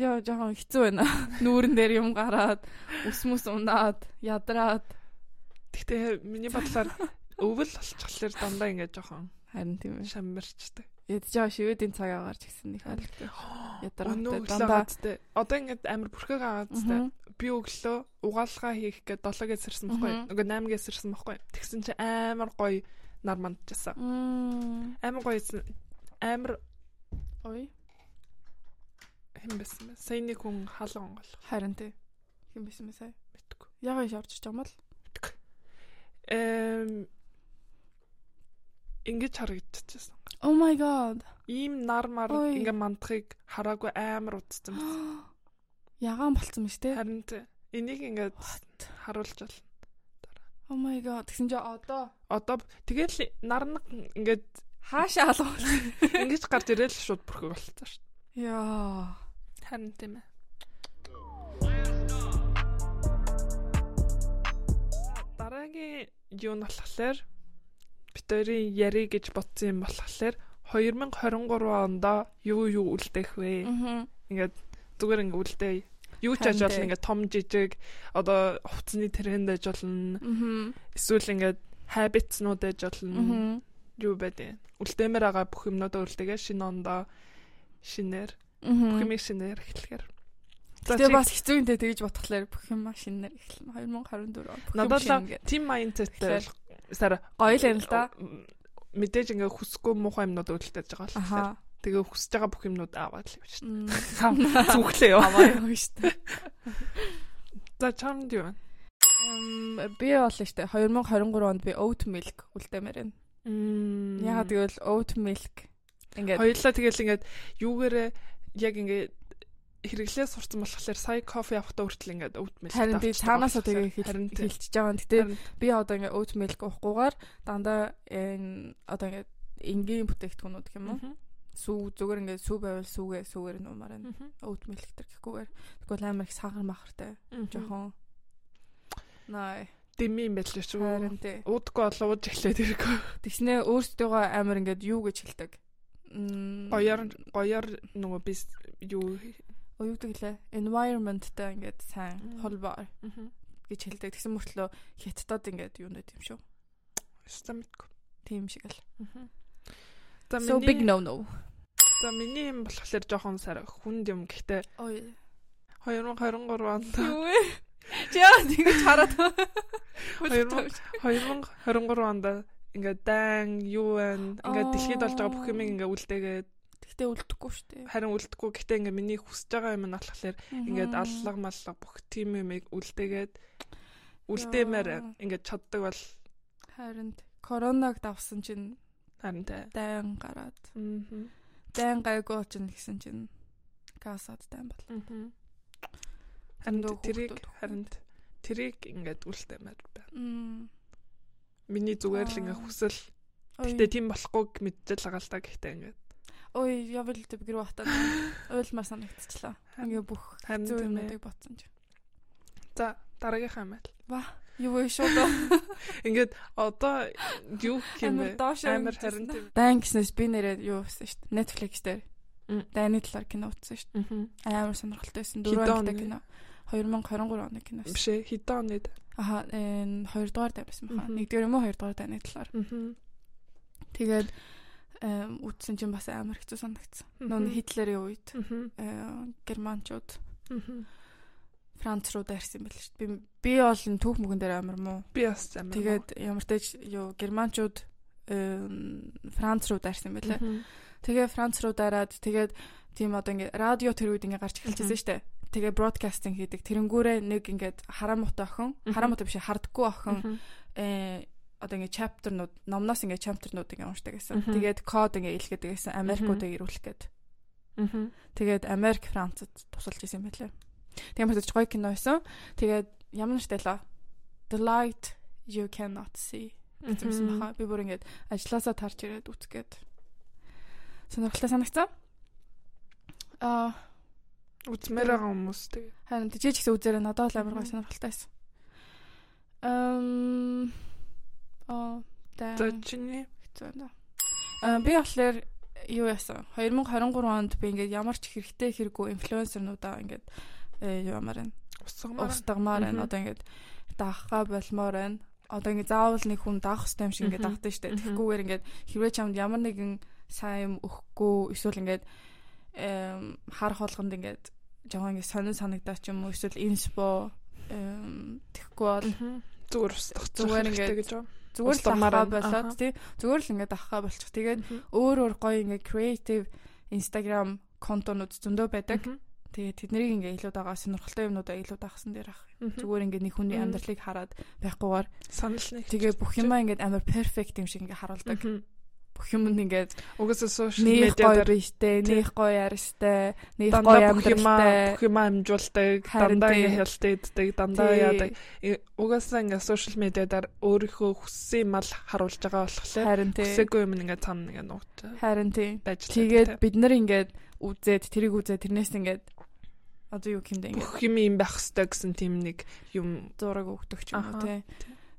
Speaker 1: Яа жоохон хэцүү байна. Нүүрэн дээр юм гараад, өсмөс унаад, ядраад
Speaker 2: Гэхдээ миний бодлоор өвөл болчихлоор дандаа ингээ жоохон
Speaker 1: харин тийм ээ.
Speaker 2: шамбарчдаг.
Speaker 1: Ядж байгаа шивэдийн цаг агаар ч гэсэн их аль ядраатай
Speaker 2: Өнөө
Speaker 1: дандаа.
Speaker 2: гэлээдтэй. Одоо ингээ амар бүрхэг аагаадтай.
Speaker 1: Мгм.
Speaker 2: Би өглөө угаалгаа хийх гээд 7-гээс сэрсэн байхгүй. юу?
Speaker 1: Мгм.
Speaker 2: Нөгөө 8-гээс сэрсэн байхгүй. юу? Тэгсэн чи амар гоё нар мандчихсан.
Speaker 1: Мм.
Speaker 2: Амар гоё эсэн- амар
Speaker 1: Ой,
Speaker 2: хэм байсан бэ? Сайн нэг хүн хаалга онгол.
Speaker 1: харин тий. Хин бисэн бэ сая?
Speaker 2: Мэдгүй.
Speaker 1: Ягаа иш орж ирч юм бол.
Speaker 2: Эм ингэж харагдчихсан.
Speaker 1: Oh my god.
Speaker 2: Ийм нар мар
Speaker 1: Ой.
Speaker 2: ингээ мандахыг хараагүй амар удсан байна.
Speaker 1: Ягаан болцсон биз дээ.
Speaker 2: Харин тэ энийг ингээд харуулж байна.
Speaker 1: Oh my god. Тэгсэн чи одоо
Speaker 2: Одоо б- тэгэл нарнаг ингээд
Speaker 1: хаашаа алгуул.
Speaker 2: ингэж гарч ирээл шууд бүрхэг болчихсон шүү
Speaker 1: Яа.
Speaker 2: дээ. Харин тийм ээ. Дараагийн юу нь болохоор битэрийн яри гэж бодсон юм болохоор 2023 ондоо юу юу үлдэх вэ?
Speaker 1: Мгм.
Speaker 2: ингээд зүгээр ингээд үлдээ. Юу ч
Speaker 1: Харин
Speaker 2: аж болно
Speaker 1: дээ.
Speaker 2: ингээд том жижиг одоо хувцсны тренд аж болно.
Speaker 1: Мгм.
Speaker 2: Эсвэл ингээд habits-нууд аж болно.
Speaker 1: Мгм.
Speaker 2: Юу байдэ. Үлдээмээр байгаа бүх юмнуудаа үлдээгээ шинэ ондоо шинээр бүх
Speaker 1: Мгм.
Speaker 2: юм шинээр эхлэхээр. За,
Speaker 1: Тэгээ
Speaker 2: чи-
Speaker 1: бас хэцүү юм дээ тэгж бодхолоор бүх юм машин нар эхэлнэ 2024 он. бүх юм
Speaker 2: надад л
Speaker 1: шинэ ингээд.
Speaker 2: team mindset-тэй
Speaker 1: Эхлэхээр.
Speaker 2: болох. Сара
Speaker 1: гоё л юм л да.
Speaker 2: мэдээж ингээ хүсэхгүй муухай юмнууд үлдээж байгаа л тэгэхээр
Speaker 1: Аха.
Speaker 2: тэгээ хүсэж байгаа бүх юмнууд аваад л явчих.
Speaker 1: Мм.
Speaker 2: Зүглээ яа.
Speaker 1: Аваа явна шүү дээ.
Speaker 2: За чамд юу вэ?
Speaker 1: Эм, Би бол шүү дээ 2023 онд би oat milk үлдээмээр байна.
Speaker 2: Мм.
Speaker 1: Ягаад гэвэл oat milk ингээд
Speaker 2: Хоёлаа тэгэл ингээд юугаарэ яг ингээд хэрэглээ сурсан болохоор сая кофе авахтаа хүртэл ингээд өвд мэл
Speaker 1: Харин би цаанаасаа тэгээ
Speaker 2: Харин тийм.
Speaker 1: хэлчихэж байгаа. Гэтэ
Speaker 2: Харин
Speaker 1: би одоо ингээ oat milk уухгүйгээр дандаа энэ одоо ингээ энгийн бүтээгдэхүүнүүд гэх юм уу?
Speaker 2: мгм.
Speaker 1: Сүү зүгээр ингээ сүү байвал сүүгээ сүүгээр нуумаар байна.
Speaker 2: Мгм.
Speaker 1: Oat milk төр гэхгүйгээр тэгвэл амар их сахар махартай. Жохон. Най.
Speaker 2: Дэми юм байл шүү.
Speaker 1: Харин тий.
Speaker 2: Уудгүй болоо ууж эхлэх хэрэггүй.
Speaker 1: Тэгснэ өөрсдөө амар ингээд юу гэж хэлдэг. Мм.
Speaker 2: Гоёор гоёор нөгөө би с- юу
Speaker 1: Оо, юу гэдэг лээ. Environment-тай ингээд сайн
Speaker 2: Мм.
Speaker 1: холбоо гэж хэлдэг. Тэгсэн мөртлөө хятадд ингээд юу нэ юм шүү.
Speaker 2: стамитгүй.
Speaker 1: Тийм шиг л.
Speaker 2: За
Speaker 1: So big
Speaker 2: миний
Speaker 1: no no.
Speaker 2: за миний юм болохоор жоохон сар хүнд юм гэхдээ
Speaker 1: Ой.
Speaker 2: 2023 онд
Speaker 1: Юу вэ? Чи яа тэгж хараад байна?
Speaker 2: Хоёр муу. 2023 онд ингээд дан юу байна ингээд
Speaker 1: Аа.
Speaker 2: дэлхийд болж байгаа бүх юм ингээд үлдээгээд
Speaker 1: Тэгтээ үлдэхгүй шүү дээ.
Speaker 2: харин үлдэхгүй гэхдээ ингээд миний хүсэж байгаа юм нь болохоор ингээд аллах маллах бүх тим юмыг үлдээгээд үлдээмээр ингээд чаддаг бол
Speaker 1: Харин коронавиг давсан чинь
Speaker 2: харин тай.
Speaker 1: дайн гараад
Speaker 2: Мгм.
Speaker 1: дайн гайгүй болчихно гэсэн чинь гасаад дайн бол.
Speaker 2: Харин
Speaker 1: Зөндөө
Speaker 2: тэрийг
Speaker 1: хүүхдүүд.
Speaker 2: харин тэрийг ингээд үлдээмээр байна.
Speaker 1: Мм.
Speaker 2: Миний зүгээр л
Speaker 1: Аа.
Speaker 2: ингээд хүсэл
Speaker 1: Ой.
Speaker 2: гэхдээ тийм болохгүй мэддэл байгаа л та гэхдээ ингээд
Speaker 1: Ой, явал дэв гэр батаад уйлмар санагдчихлаа. Ингээ бүх
Speaker 2: харин
Speaker 1: зүү
Speaker 2: тийм ээ.
Speaker 1: юмнуудыг ботсон чинь.
Speaker 2: За дараагийнхаа мэт.
Speaker 1: Юу вэ шүү дээ.
Speaker 2: Ингээд одоо юу гэх юм
Speaker 1: Амар
Speaker 2: бэ?
Speaker 1: доош
Speaker 2: Амар харин тийм.
Speaker 1: дайн гэснээс би нэрээ юу хийсэн шүү дээ. Netflix дээр.
Speaker 2: Мм.
Speaker 1: Дайны талаар кино үзсэн шүү
Speaker 2: Мгм.
Speaker 1: дээ. Амар сонирхолтой байсан.
Speaker 2: Хэдэн
Speaker 1: Дөрөв
Speaker 2: оны?
Speaker 1: ангитай кино. 2023 оны кино. байсан.
Speaker 2: Биш ээ, хэдэн онд.
Speaker 1: Аха, энэ 2 дугаар дайрсан баха.
Speaker 2: Мгм.
Speaker 1: 1 дугаар юм уу 2 дугаар дайны талаар.
Speaker 2: Мгм.
Speaker 1: Тэгээд эм, үтсэн чинь бас амар хэцүү санагдсан. Нүүн
Speaker 2: Мгм.
Speaker 1: Хитлерийн үед
Speaker 2: Мгм.
Speaker 1: э, германчууд
Speaker 2: Мгм.
Speaker 1: Франц руу дайрсан байл шүү дээ. Би би бол энэ түүх мөнгөн дээр амар муу.
Speaker 2: Би бас амар.
Speaker 1: Тэгээд ямар ч юу германчууд эм, Франц руу дайрсан байлаа. Тэгээ Франц руу дараад тэгээд тийм одоо ингээ радио тэр үед ингээ гарч эхэлчихсэн шүү дээ. Тэгээ бродкастинг хийдэг. Тэрэнгүүрээ нэг ингээд харамуут охин,
Speaker 2: Мгм.
Speaker 1: харамуут биш хардггүй охин
Speaker 2: Мгм.
Speaker 1: э одоо ингээ чаптернууд номноос ингээ чаптернууд ингээ уншдаг гэсэн.
Speaker 2: Мгм.
Speaker 1: Тэгээд код ингээ илгээдэг гэсэн Америкуудыг ирүүлэх гээд.
Speaker 2: Мгм.
Speaker 1: Тэгээд Америк Францад тусалж исэн байлээ. Тэгээд мэдээж гоё кино байсан. Тэгээд ямар нэгтэй л The Light You Cannot See гэсэн
Speaker 2: Мгм.
Speaker 1: баха. Би бүр ингээ ажилласаа тарж ирээд үтгээд. Сонирхолтой санагцсан. Аа
Speaker 2: Үзмээр байгаа хүмүүс тэгээд.
Speaker 1: харин тийч гэсэн үзээрээ надад л амар гоё
Speaker 2: Мгм.
Speaker 1: сонирхолтой байсан. Эм аа та
Speaker 2: За чиний
Speaker 1: хэцүү байна. Аа би болохоор юу яасан? 2023 онд би ингээд ямар ч хэрэгтэй хэрэггүй инфлюенсернуудаа ингээд э, юу ямар байна?
Speaker 2: усгамаар.
Speaker 1: Устгамаар
Speaker 2: Мгм.
Speaker 1: байна. Одоо ингээд даахга болмоор байна. Одоо ингээд заавал нэг хүн даах хэрэгтэй юм шиг ингээд
Speaker 2: Мгм.
Speaker 1: даахдаг шүү дээ.
Speaker 2: Мгм.
Speaker 1: Тэгэхгүйгээр ингээд хэрвээ чамд ямар нэгэн сайн юм өгөхгүй эсвэл ингээд эм хар холгонд ингээд жоохон ингээд сонин санагдаа ч юм уу эсвэл инспо эм тэгэхгүй бол
Speaker 2: Мгм. Зүгээр устгах
Speaker 1: Зүгээр
Speaker 2: зүгээр
Speaker 1: ингээд
Speaker 2: ингээд гэж байна.
Speaker 1: зүгээр л
Speaker 2: Устгамаар
Speaker 1: даахга
Speaker 2: байна.
Speaker 1: болоод
Speaker 2: Аха.
Speaker 1: тий зүгээр л ингээд даахга болчих. Тэгээд
Speaker 2: Мгм.
Speaker 1: өөр өөр гоё ингээ creative Instagram контонууд зөндөө байдаг.
Speaker 2: Мгм.
Speaker 1: Тэгээд тэднийг ингээ илүү дагаа сонирхолтой юмнуудаа илүү дагсан дээр ах.
Speaker 2: Мгм.
Speaker 1: Зүгээр ингээ нэг хүний
Speaker 2: Мгм.
Speaker 1: амьдралыг хараад байхгүйгээр
Speaker 2: санал нэг.
Speaker 1: тэгээ бүх юмаа ингээ амар perfect юм шиг ингээ харуулдаг.
Speaker 2: Мгм.
Speaker 1: Бүх юмд ингээ
Speaker 2: Угаасаа сошиал
Speaker 1: нэх гоё
Speaker 2: медиа дээр
Speaker 1: биштэй,
Speaker 2: Тий.
Speaker 1: нэх гоё ярстай, нэх гоё
Speaker 2: дандаа бүх юмаа
Speaker 1: амьдралтай.
Speaker 2: бүх юмаа амжуулдаг,
Speaker 1: Харин
Speaker 2: дандаа
Speaker 1: тий.
Speaker 2: ингээ хялтаа иддэг, дандаа
Speaker 1: Тий.
Speaker 2: яадаг. Э, Угаасаа ингээ сошиал медиадаар өөрийнхөө хүссэн юм ал харуулж байгаа болохоор
Speaker 1: Харин тий.
Speaker 2: хүсээгүй юм ингээ цам ингээ нуугч
Speaker 1: Харин тий.
Speaker 2: байж л
Speaker 1: Тэгээд бид нар ингээ үзээд тэрийг үзээд тэрнээс ингээ одоо юу гэмдэ ингээ
Speaker 2: бүх юм юм байх хэрэгтэй гэсэн тийм нэг юм.
Speaker 1: зураг өгдөг ч юм уу
Speaker 2: Аха.
Speaker 1: тий.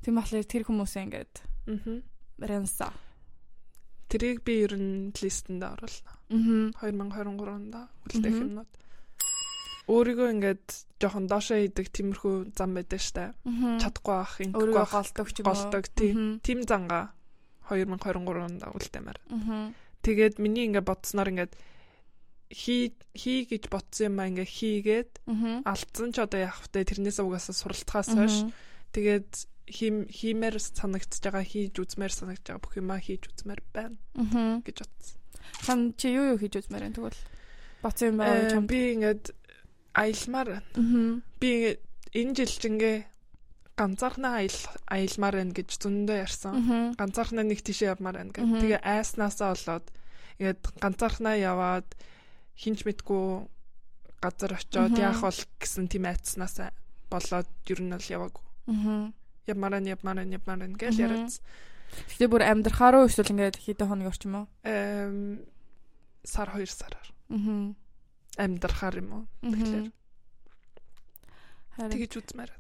Speaker 1: Тийм болохоор тэр хүмүүсээ ингээ ренса.
Speaker 2: Тэрийг би ер нь листэнд оруулна.
Speaker 1: Аа.
Speaker 2: 2023 онд үлдээх
Speaker 1: Мгм.
Speaker 2: юмнууд. Өөрийгөө ингээд жоохон доошоо хийдэг тиймэрхүү зам байдаг штэ. Чадахгүй ах, ингэхгүй
Speaker 1: өөрийгөө
Speaker 2: ах,
Speaker 1: голдог ч юм уу.
Speaker 2: голдог тийм. Тим занга 2023 онд үлдээмээр.
Speaker 1: Аа.
Speaker 2: Тэгээд миний ингээд бодсноор ингээд хий хий гэж бодсон юм аа ингээд хийгээд
Speaker 1: Аа.
Speaker 2: алдсан ч одоо явах вэ тэрнээс угаасаа суралцахаас хойш Тэгээд хийм хиймээр санагдчихж байгаа, хийж үзмээр санагдж байгаа бүх юмаа хийж үзмээр байна
Speaker 1: Аа.
Speaker 2: гэж бодсон.
Speaker 1: Чам чи юу юу хийж үзмээр энэ тэгвэл бац юм байгаа
Speaker 2: Э,
Speaker 1: чам.
Speaker 2: Би ингээд аялмаар байна.
Speaker 1: Аа.
Speaker 2: би ингээд энэ жил ч ингээ ганцаархнаа аял аялмаар байна гэж зөндөө ярьсан.
Speaker 1: Аа.
Speaker 2: Ганцаархнаа нэг тишээ явмаар байна гэх.
Speaker 1: Мгм.
Speaker 2: Тэгээ айснаасаа болоод ингээд ганцаархнаа яваад хинч мэдгүй газар очиод
Speaker 1: Мгм.
Speaker 2: яах бол гэсэн тийм айцнаас болоод ер нь бол яваагүй.
Speaker 1: Аа.
Speaker 2: Ямаран ямаран ямаран гэж
Speaker 1: Мгм.
Speaker 2: яриад.
Speaker 1: Гэтэ бүр амьдрахаараа эсвэл ингээд хэдэн хоног орчим уу?
Speaker 2: Эм сар хоёр сараар
Speaker 1: Аа.
Speaker 2: амьдрахаар юм уу? Тэгэхээр.
Speaker 1: Харин
Speaker 2: Тэгэж үзмээр.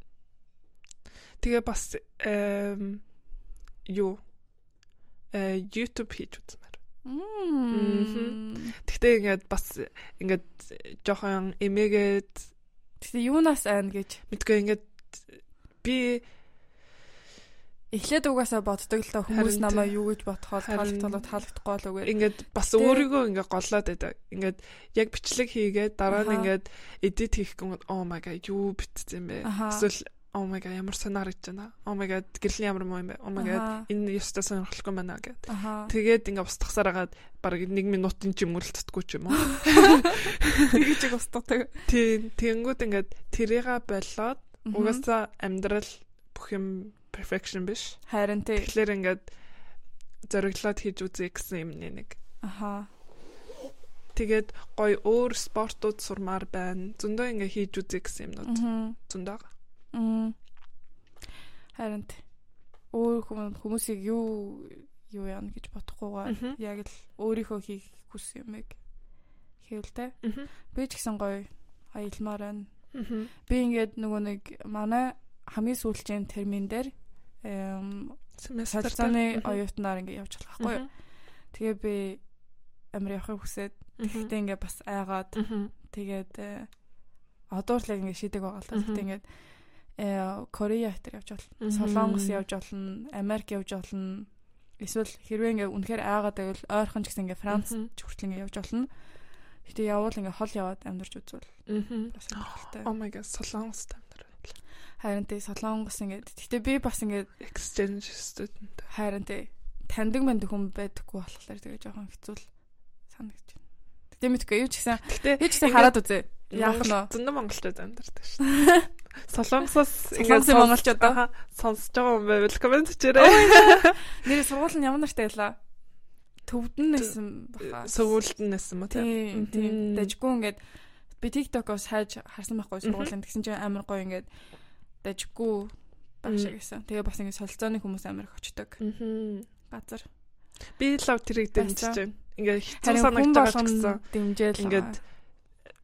Speaker 2: Тэгээ бас эм юу э YouTube хийж үзмээр.
Speaker 1: Мм.
Speaker 2: Тэгтээ ингээд бас ингээд жоохон эмээгээд
Speaker 1: Тэгтээ юунаас айн гэж
Speaker 2: мэдгүй ингээд би
Speaker 1: эхлээд угаасаа боддог л та хүмүүс
Speaker 2: Харин тэ.
Speaker 1: намайг юу гэж бодхоо
Speaker 2: Харин.
Speaker 1: таалагдтал таалагдахгүй л үгээр.
Speaker 2: ингээд бас
Speaker 1: Гэтэ-
Speaker 2: өөрийгөө ингээд голлоод байдаг. Ингээд яг бичлэг хийгээд дараа нь
Speaker 1: Аха.
Speaker 2: ингээд edit хийх гээд oh my god юу битсэн бэ?
Speaker 1: Аха.
Speaker 2: Эсвэл oh my god ямар сонир харагдаж байна. Oh my god гэрлийн ямар муу юм бэ? Oh my god
Speaker 1: Аха.
Speaker 2: энэ ёстой сонирхолтой байна гэд.
Speaker 1: Аха.
Speaker 2: Тэгээд ингээд устгасаар агаад баг 1 минутын ч юм өрөлдтггүй ч юм уу.
Speaker 1: Тэгэж яг устдаг.
Speaker 2: Тийм, тэнгууд ингээд тэрийга болоод угаасаа амьдрал бүх юм perfection биш.
Speaker 1: Харин тий.
Speaker 2: Тэгэхээр ингээд зориглоод хийж үзье гэсэн юм нэг.
Speaker 1: Аха.
Speaker 2: Тэгээд гоё өөр спортууд сурмаар байна. Зөндөө ингээ хийж үзье гэсэн юмнууд
Speaker 1: Мгм.
Speaker 2: зөндөө байгаа.
Speaker 1: Мм. Харин тий. Өөр хүм- хүмүүсийг юу юу яана гэж бодохгүйгээр
Speaker 2: Мгм.
Speaker 1: яг л өөрийнхөө хийх хүс юм яг хэвэлтэй. Би ч гэсэн гоё аялмаар байна.
Speaker 2: Мгм.
Speaker 1: Би ингээд нөгөө нэг манай хамгийн сүүлчийн термин дээр эм
Speaker 2: Семестр
Speaker 1: салцааны оюутнаар ингээд явж байгаа байхгүй юу. Тэгээ би амир явахыг хүсээд
Speaker 2: Тэгтээ
Speaker 1: тэгтээ ингээд бас айгаад тэгээд э, одоо л яг ингээд шидэг байгаа л та.
Speaker 2: Мгм.
Speaker 1: Тэгтээ ингээд э, Корея хэтэр явж болно. Солонгос явж болно, Америк явж болно. Эсвэл хэрвээ ингээ үнэхээр айгаад байвал ойрхон ч гэсэн ингээ Франц ч хүртэл ингээ явж болно. Гэтэ явбал ингээ хол яваад амьдарч үзвэл бас амжилттай.
Speaker 2: Oh my god, Солонгос тамдар байлаа.
Speaker 1: Харин тий Солонгос ингээ гэтэ би бас ингээ
Speaker 2: Exchange student.
Speaker 1: харин тий таньдаг мэнд хүн байдаггүй болохоор тэгээ жоохон хэцүү л санагдаж байна. Гэтэ мэдгүй юу ч гэсэн
Speaker 2: Тэгтээ
Speaker 1: би ч гэсэн
Speaker 2: Ингээ-
Speaker 1: хараад үзье. Яах нь
Speaker 2: Монгол
Speaker 1: вэ?
Speaker 2: зөндөө Монголчууд амьдардаг шүү дээ. Солонгосоос
Speaker 1: Солонгосын
Speaker 2: сонс-
Speaker 1: монголчууд аа.
Speaker 2: Аха, сонсож байгаа юм байвал комент хийрээ.
Speaker 1: Нэр сургууль нь ямар нартай байлаа? Төвдөн нэсэн баха.
Speaker 2: Сөвүүлд нь нэсэн мө
Speaker 1: Тийм,
Speaker 2: тийм.
Speaker 1: тийм.
Speaker 2: э, Мгм.
Speaker 1: Дажгүй ингээд би TikTok-оос хайж харсан байхгүй сургуулийн тэгсэн чинь амар гоё ингээд дажгүй багш
Speaker 2: Мгм.
Speaker 1: гэсэн. Тэгээ бас ингээд солилцооны хүмүүс амар их очдог
Speaker 2: Мгм.
Speaker 1: газар.
Speaker 2: Би лав тэрийг
Speaker 1: Баярлалаа.
Speaker 2: дэмжиж байна. Ингээ хэцүү
Speaker 1: Харин хүн
Speaker 2: санагдаж байгаа ч гэсэн
Speaker 1: болгон дэмжээл
Speaker 2: ингээд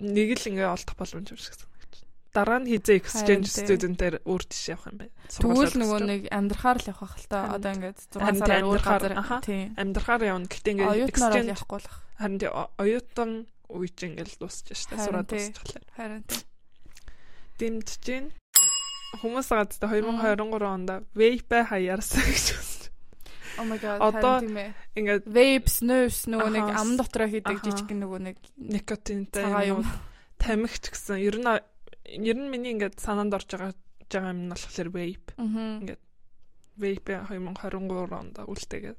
Speaker 2: нэг л ингээ олдох боломж юм шиг санагдаж байна. Дараа нь хизээ exchange
Speaker 1: Харин тий.
Speaker 2: студентээр өөр тиш явах юм байна.
Speaker 1: тэгвэл нөгөө нэг амьдрахаар л явах хэл та
Speaker 2: Харин.
Speaker 1: одоо ингээд 6
Speaker 2: Харин
Speaker 1: сараар өөр
Speaker 2: амьдрахаар,
Speaker 1: газар
Speaker 2: аха.
Speaker 1: тийм.
Speaker 2: амьдрахаар явна. Гэтэ ингээ
Speaker 1: Оюутнаар л
Speaker 2: exchange
Speaker 1: явахгүй л ах.
Speaker 2: харин тий о- оюутан үеч ингээл дуусчих шүү дээ.
Speaker 1: Харин
Speaker 2: Сураад
Speaker 1: тий.
Speaker 2: дуусчихлаа.
Speaker 1: Харин тийм.
Speaker 2: Дэмжиж гин хүмүүс гадтай 2023 онд vape хаярсан гэж үзсэн.
Speaker 1: Oh my god.
Speaker 2: Одоо-
Speaker 1: харин тийм ээ.
Speaker 2: Ингээд
Speaker 1: Vapes, nerves нөгөө нэг
Speaker 2: Аха.
Speaker 1: ам дотроо хийдэг
Speaker 2: Аха.
Speaker 1: жижиг нөгөө нэг
Speaker 2: никотинтэй
Speaker 1: цагаан юм.
Speaker 2: юм тамхич гэсэн. Ер нь о- ер нь миний ингээд санаанд орж байгаа байгаа юм нь болохоор vape.
Speaker 1: Мгм.
Speaker 2: Vape 2023 онд үлдээгээ.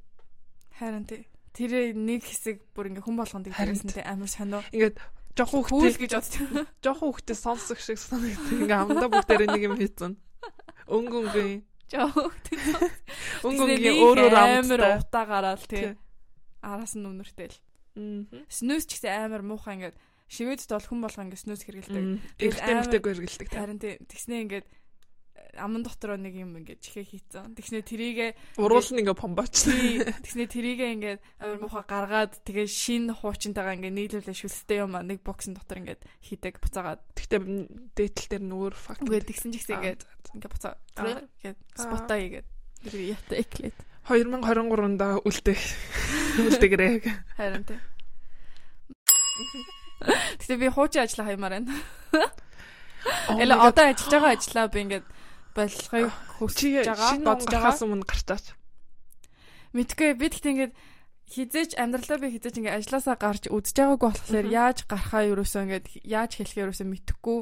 Speaker 1: Харин тий. Тэр нэг хэсэг бүр ингээ хүн болгонд
Speaker 2: Харин
Speaker 1: гэсэн тий амар сонио.
Speaker 2: Ингээд жоохон
Speaker 1: Хүүл
Speaker 2: хүүхдээ
Speaker 1: гэж бодчих.
Speaker 2: жоохон хүүхдээ сонсох шиг санагддаг. Ингээ амдаа бүгдээрээ нэг юм хийцэн. Өнг өнгийн
Speaker 1: Жоо.
Speaker 2: өнг өнгийн өөр өөр
Speaker 1: амар
Speaker 2: амттай.
Speaker 1: утаа гараал тий.
Speaker 2: Тий.
Speaker 1: Араас нь өмнөртэй л.
Speaker 2: Мгм.
Speaker 1: Снөөс ч гэсэн амар муухай ингээ шивэдд бол хүн болгоо ингээ снөөс хэрэгэлдэг.
Speaker 2: Мм. Эргэтэй
Speaker 1: амар-
Speaker 2: мэгтэйг эргэлдэг. тэ.
Speaker 1: Харин тий. Тэгснээ ингээ аман дотроо нэг юм ингээ чихээ хийцэн. Тэгснээ трийгээ
Speaker 2: Уруул нь ингээ помбооч.
Speaker 1: тий. Тэгснээ трийгээ ингээ амар муухай гаргаад тэгээ шин хуучинтайгаа ингээ нийлүүлээ шүлстэй юм аа нэг боксын дотор ингээ хийдэг буцаагаад.
Speaker 2: Тэгтээ дээтэл дээр нүүр фак.
Speaker 1: Үгүй тэгсэн ч гэсэн ингээ ингээ буцаа.
Speaker 2: Аа.
Speaker 1: Тэгээд спота хийгээд. Тэр ята эклэт.
Speaker 2: 2023-нд үлдээх. Үлдээгээрээ.
Speaker 1: Харин тий. Гэтэ би хуучин ажиллах хаймаар байна. Эле одоо ажиллаж байгаа ажлаа би ингээд болохыг
Speaker 2: чи
Speaker 1: хүсэж байгаа,
Speaker 2: шинэ
Speaker 1: бодож байгаа.
Speaker 2: бодсоос өмнө гарчаач.
Speaker 1: Мэдгүй би тэгт ингээд хизээч амьдралаа би хизээч ингээд ажилласаа гарч үдэж байгаагүй болохоор
Speaker 2: Мгм.
Speaker 1: яаж гарахаа юусэн ингээд яаж хэлэхээ юусэн мэдэхгүй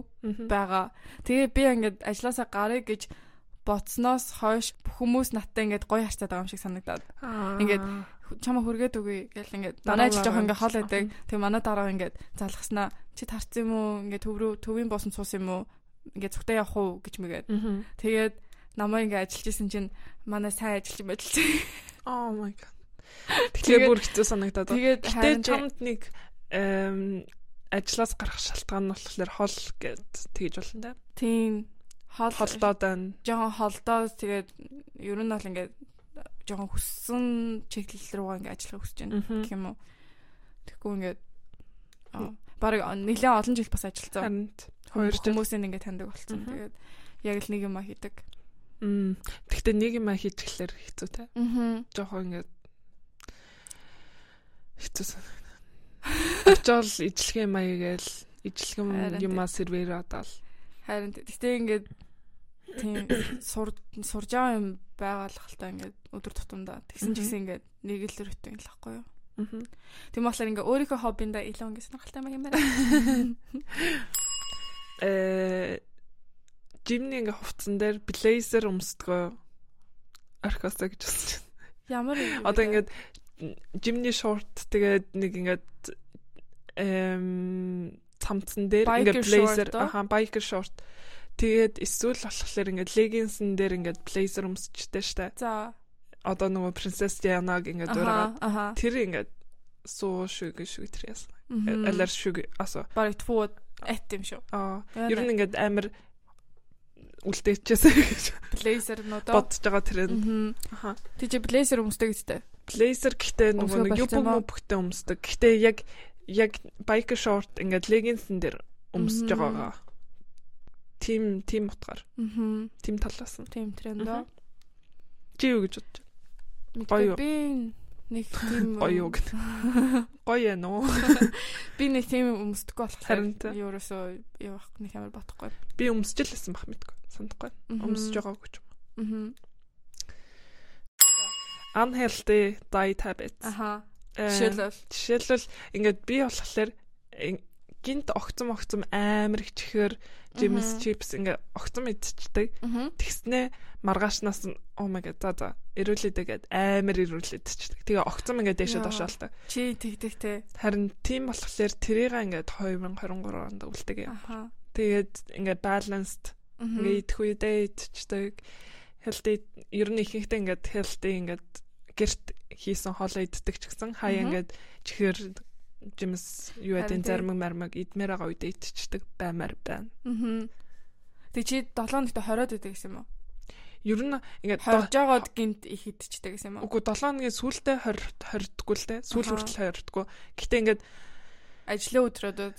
Speaker 1: байгаа. Тэгээ би ингээд ажилласаа гарыг гэж бодсноос хойш бүх хүмүүс надтай ингээд гоё харцаад байгаа юм шиг санагдаад Ингээд чамаа хүргээд үгүй гэл ингээд
Speaker 2: Дараа
Speaker 1: манай ажил жоохон ингээд хол
Speaker 2: дараа.
Speaker 1: байдаг. Тэгээ манай дараа ингээд залхаснаа чи тарцсан юм уу? Ингээд төв рүү төвийн боосон суус юм уу? Ингээд зүгтээ явах уу гэж мэгээд. Тэгээд намайг ингээд ажиллаж исэн чинь манай сайн ажилч бодолч.
Speaker 2: Oh my god. Тэгэхээр
Speaker 1: Тэгээд-
Speaker 2: бүр хэцүү санагдаад байна.
Speaker 1: Тэгээд
Speaker 2: Гэтэ
Speaker 1: харин тэ-
Speaker 2: чамд нэг эм ажлаас гарах шалтгаан нь болохоор хол гэд тэгж болно да.
Speaker 1: Тийм. Хол
Speaker 2: Холдоод байна.
Speaker 1: жоохон холдоос тэгээд ер нь бол ингээд жоохон хүссэн чиглэл рүүгээ ингээд ажиллахыг хүсэж байна
Speaker 2: Мгм.
Speaker 1: гэх юм уу. Тэгэхгүй ингээд аа, барыг нэлээд олон жил бас ажилласан.
Speaker 2: Харин хоёр жил.
Speaker 1: Хүмүүсийн ингээд таньдаг болсон.
Speaker 2: Мгм.
Speaker 1: Тэгээд яг л нэг юм а хийдэг.
Speaker 2: Мм. Тэгтээ нэг юм хийж эхлэхээр хэцүү те.
Speaker 1: Аа.
Speaker 2: Жохон ингээд хэцүү санагдана. Очоол ижлэхэн маягээл ижлэхэн
Speaker 1: Харин
Speaker 2: юмаа сервер одаал.
Speaker 1: Харин т- гэтээ ингээд тийм сур сурж байгаа юм байгаа л хальтаа ингээд өдөр тутамдаа тэгсэн ч гэсэн ингээд нэг л өрөвтэй л байхгүй юу.
Speaker 2: Аа.
Speaker 1: Тийм болохоор ингээд өөрийнхөө хоббиндаа илүү ингээд сонирхолтой байх юм байна.
Speaker 2: Э жимний ингээ хувцсан дээр блейзер өмсдгөө орхиосоо гэж бодож байна.
Speaker 1: Ямар юм бэ?
Speaker 2: Одоо ингээд жимний шорт тэгээд нэг ингээд эм цамцсан дээр
Speaker 1: Biker
Speaker 2: ингээд блейзер
Speaker 1: short уу?
Speaker 2: аха байкер шорт тэгээд эсвэл болохоор ингээд легинсэн дээр ингээд блейзер өмсчтэй штэ.
Speaker 1: за
Speaker 2: Одоо нөгөө принцесс Дианаг ингээд дуурайгаад
Speaker 1: аха
Speaker 2: тэр ингээд суу шүг шүг тэр ясна.
Speaker 1: мгм.
Speaker 2: Алар шүг асуу.
Speaker 1: барыг твууд эт юм шүү.
Speaker 2: Аа
Speaker 1: Ер
Speaker 2: ер
Speaker 1: нь
Speaker 2: нь ингээд амар үлдээчээсэ гэж
Speaker 1: блейзернуудаа
Speaker 2: бодож байгаа тренд. Аха.
Speaker 1: Тэг чи блейзер өмсдөг гэдэг.
Speaker 2: Blazer гэхдээ
Speaker 1: Өмсгөө
Speaker 2: нөгөө нэг
Speaker 1: болцсон
Speaker 2: юбг
Speaker 1: ба.
Speaker 2: мөбгтэй өмсдөг. Гэхдээ яг яг biker short ингээд leggings-н дээр өмсөж
Speaker 1: Мгм.
Speaker 2: байгаагаа. Тим тим утгаар,
Speaker 1: Аа.
Speaker 2: тим талаас нь.
Speaker 1: Тийм трендо.
Speaker 2: Чи юу гэж бодож Гоё юу?
Speaker 1: Мэдгүй би нэг тийм
Speaker 2: байна? Гоё юу гэдэг. Гоё ээ нөө.
Speaker 1: би нэг тийм өмсдөггүй болохоор
Speaker 2: Харин тэ.
Speaker 1: ерөөсөө явах нэг амар бодохгүй.
Speaker 2: Би өмсөж л байсан бах мэдгүй. Сандахгүй. Өмсөж байгаагүй ч юм.
Speaker 1: Аа.
Speaker 2: Unhealthy diet habits.
Speaker 1: Аха.
Speaker 2: Э,
Speaker 1: Жишээлбэл
Speaker 2: Жишээлбэл ингээд би болохоор ин- гинт огцом огцом амар их чихээр жимс
Speaker 1: Мгм.
Speaker 2: чипс ингээд огцом идчихдэг.
Speaker 1: аа
Speaker 2: Тэгснээ маргаашнаас нь oh my god за за эрүүлээдэ гээд амар эрүүлээдчихлээ. Тэгээ огцом ингээд дэше
Speaker 1: Яа.
Speaker 2: доошоолтой.
Speaker 1: чи тэгдэг те.
Speaker 2: Харин тийм болохоор тэрийг ингээд 2023 онд үлдэг юм.
Speaker 1: Аха.
Speaker 2: Тэгээд ингээд balanced
Speaker 1: Мгм.
Speaker 2: ингээд идэх үедээ идчихдэг. Healthy ер нь ихэнхдээ ингээд healthy ингээд гэрт хийсэн хоолоо иддэг ч гэсэн хаяа
Speaker 1: Мгм.
Speaker 2: ингээд чихэр жимс юу гэдэг
Speaker 1: Харин
Speaker 2: нь
Speaker 1: тийм.
Speaker 2: зармаг мармаг идмээр байгаа үедээ идчихдэг баймаар байна.
Speaker 1: Мгм. Тэг чи 7 хоногт 20-од идэг гэсэн юм уу?
Speaker 2: Ер нь ингээд доо-
Speaker 1: 20 жагаад гинт их идчихдэг гэсэн юм уу?
Speaker 2: Үгүй 7 хоногийн сүүлдээ 20 20дгүй л дээ. Сүүл
Speaker 1: Аха.
Speaker 2: хүртэл 20дгүй. Гэтэ ингээд
Speaker 1: Ажлын өдрүүдэд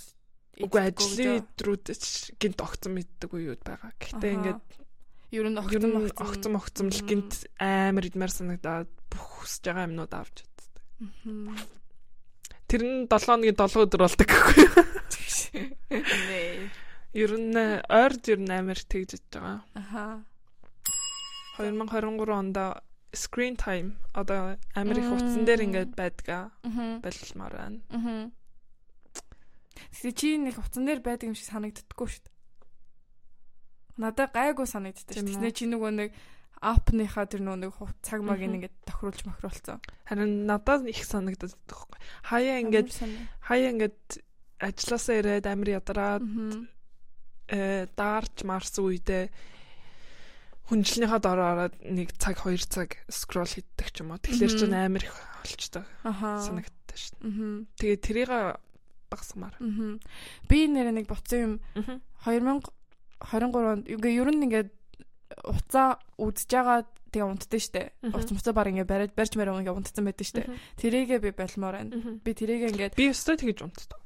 Speaker 2: үгүй ажлын өдрүүд ч гинт огцом мэддэг үеуд байгаа. Гэтэ ингээд
Speaker 1: ер нь
Speaker 2: ер
Speaker 1: огцом
Speaker 2: нь огцом огцом л
Speaker 1: Мгм.
Speaker 2: гинт амар идмээр санагдаад бүх хүсэж байгаа юмнууд авч чаддаг.
Speaker 1: Мгм.
Speaker 2: Тэр нь 7 хоногийн 7 өдөр болдог гэхгүй. юу?
Speaker 1: Нэ.
Speaker 2: Ер нь э, ойрд ер нь амар тэгж идэж байгаа.
Speaker 1: Аха.
Speaker 2: 2023 онд screen time одоо амар их
Speaker 1: Мм.
Speaker 2: утсан дээр ингээд байдгаа
Speaker 1: Мгм.
Speaker 2: болмаар байна.
Speaker 1: Мгм. Тэгээ чи нэг утсан дээр байдаг юм шиг санагддаггүй шүү дээ. Надад гайгүй санагддаг шүү.
Speaker 2: Тийм үү?
Speaker 1: Тэснэ чи нөгөө нэг апныхаа тэр нөгөө нэг хуц- цаг маг
Speaker 2: Мгм.
Speaker 1: ингээд тохируулж мохируулсан.
Speaker 2: Харин надад их санагддаг. байхгүй. Хаяа ингээд хаяа ингээд ажилласаа ирээд амир ядараад э, даарч марс үедээ хүнжлийнхаа дор ороод нэг цаг хоёр цаг скрол хийдэг ч юм уу. Тэгэхээр ч
Speaker 1: Мгм.
Speaker 2: амир их олчтой
Speaker 1: Аха.
Speaker 2: санагддаг шүү.
Speaker 1: Мгм.
Speaker 2: Тэгээ тэрийг багсмаар.
Speaker 1: Мгм. Би нэрэ нэг буцсан юм 2023 онд үгүй ер нь ингээд уцаа үдж байгаа тэгээ унтдээ штэ.
Speaker 2: Мгм.
Speaker 1: Уц муцаа баг ингээд бариад барьж мэрэ ингээд унтцсан байдаг штэ. Тэрийгээ би болмоор байна. Би тэрийгээ ингээд
Speaker 2: Би өстой тэгж унтдаг.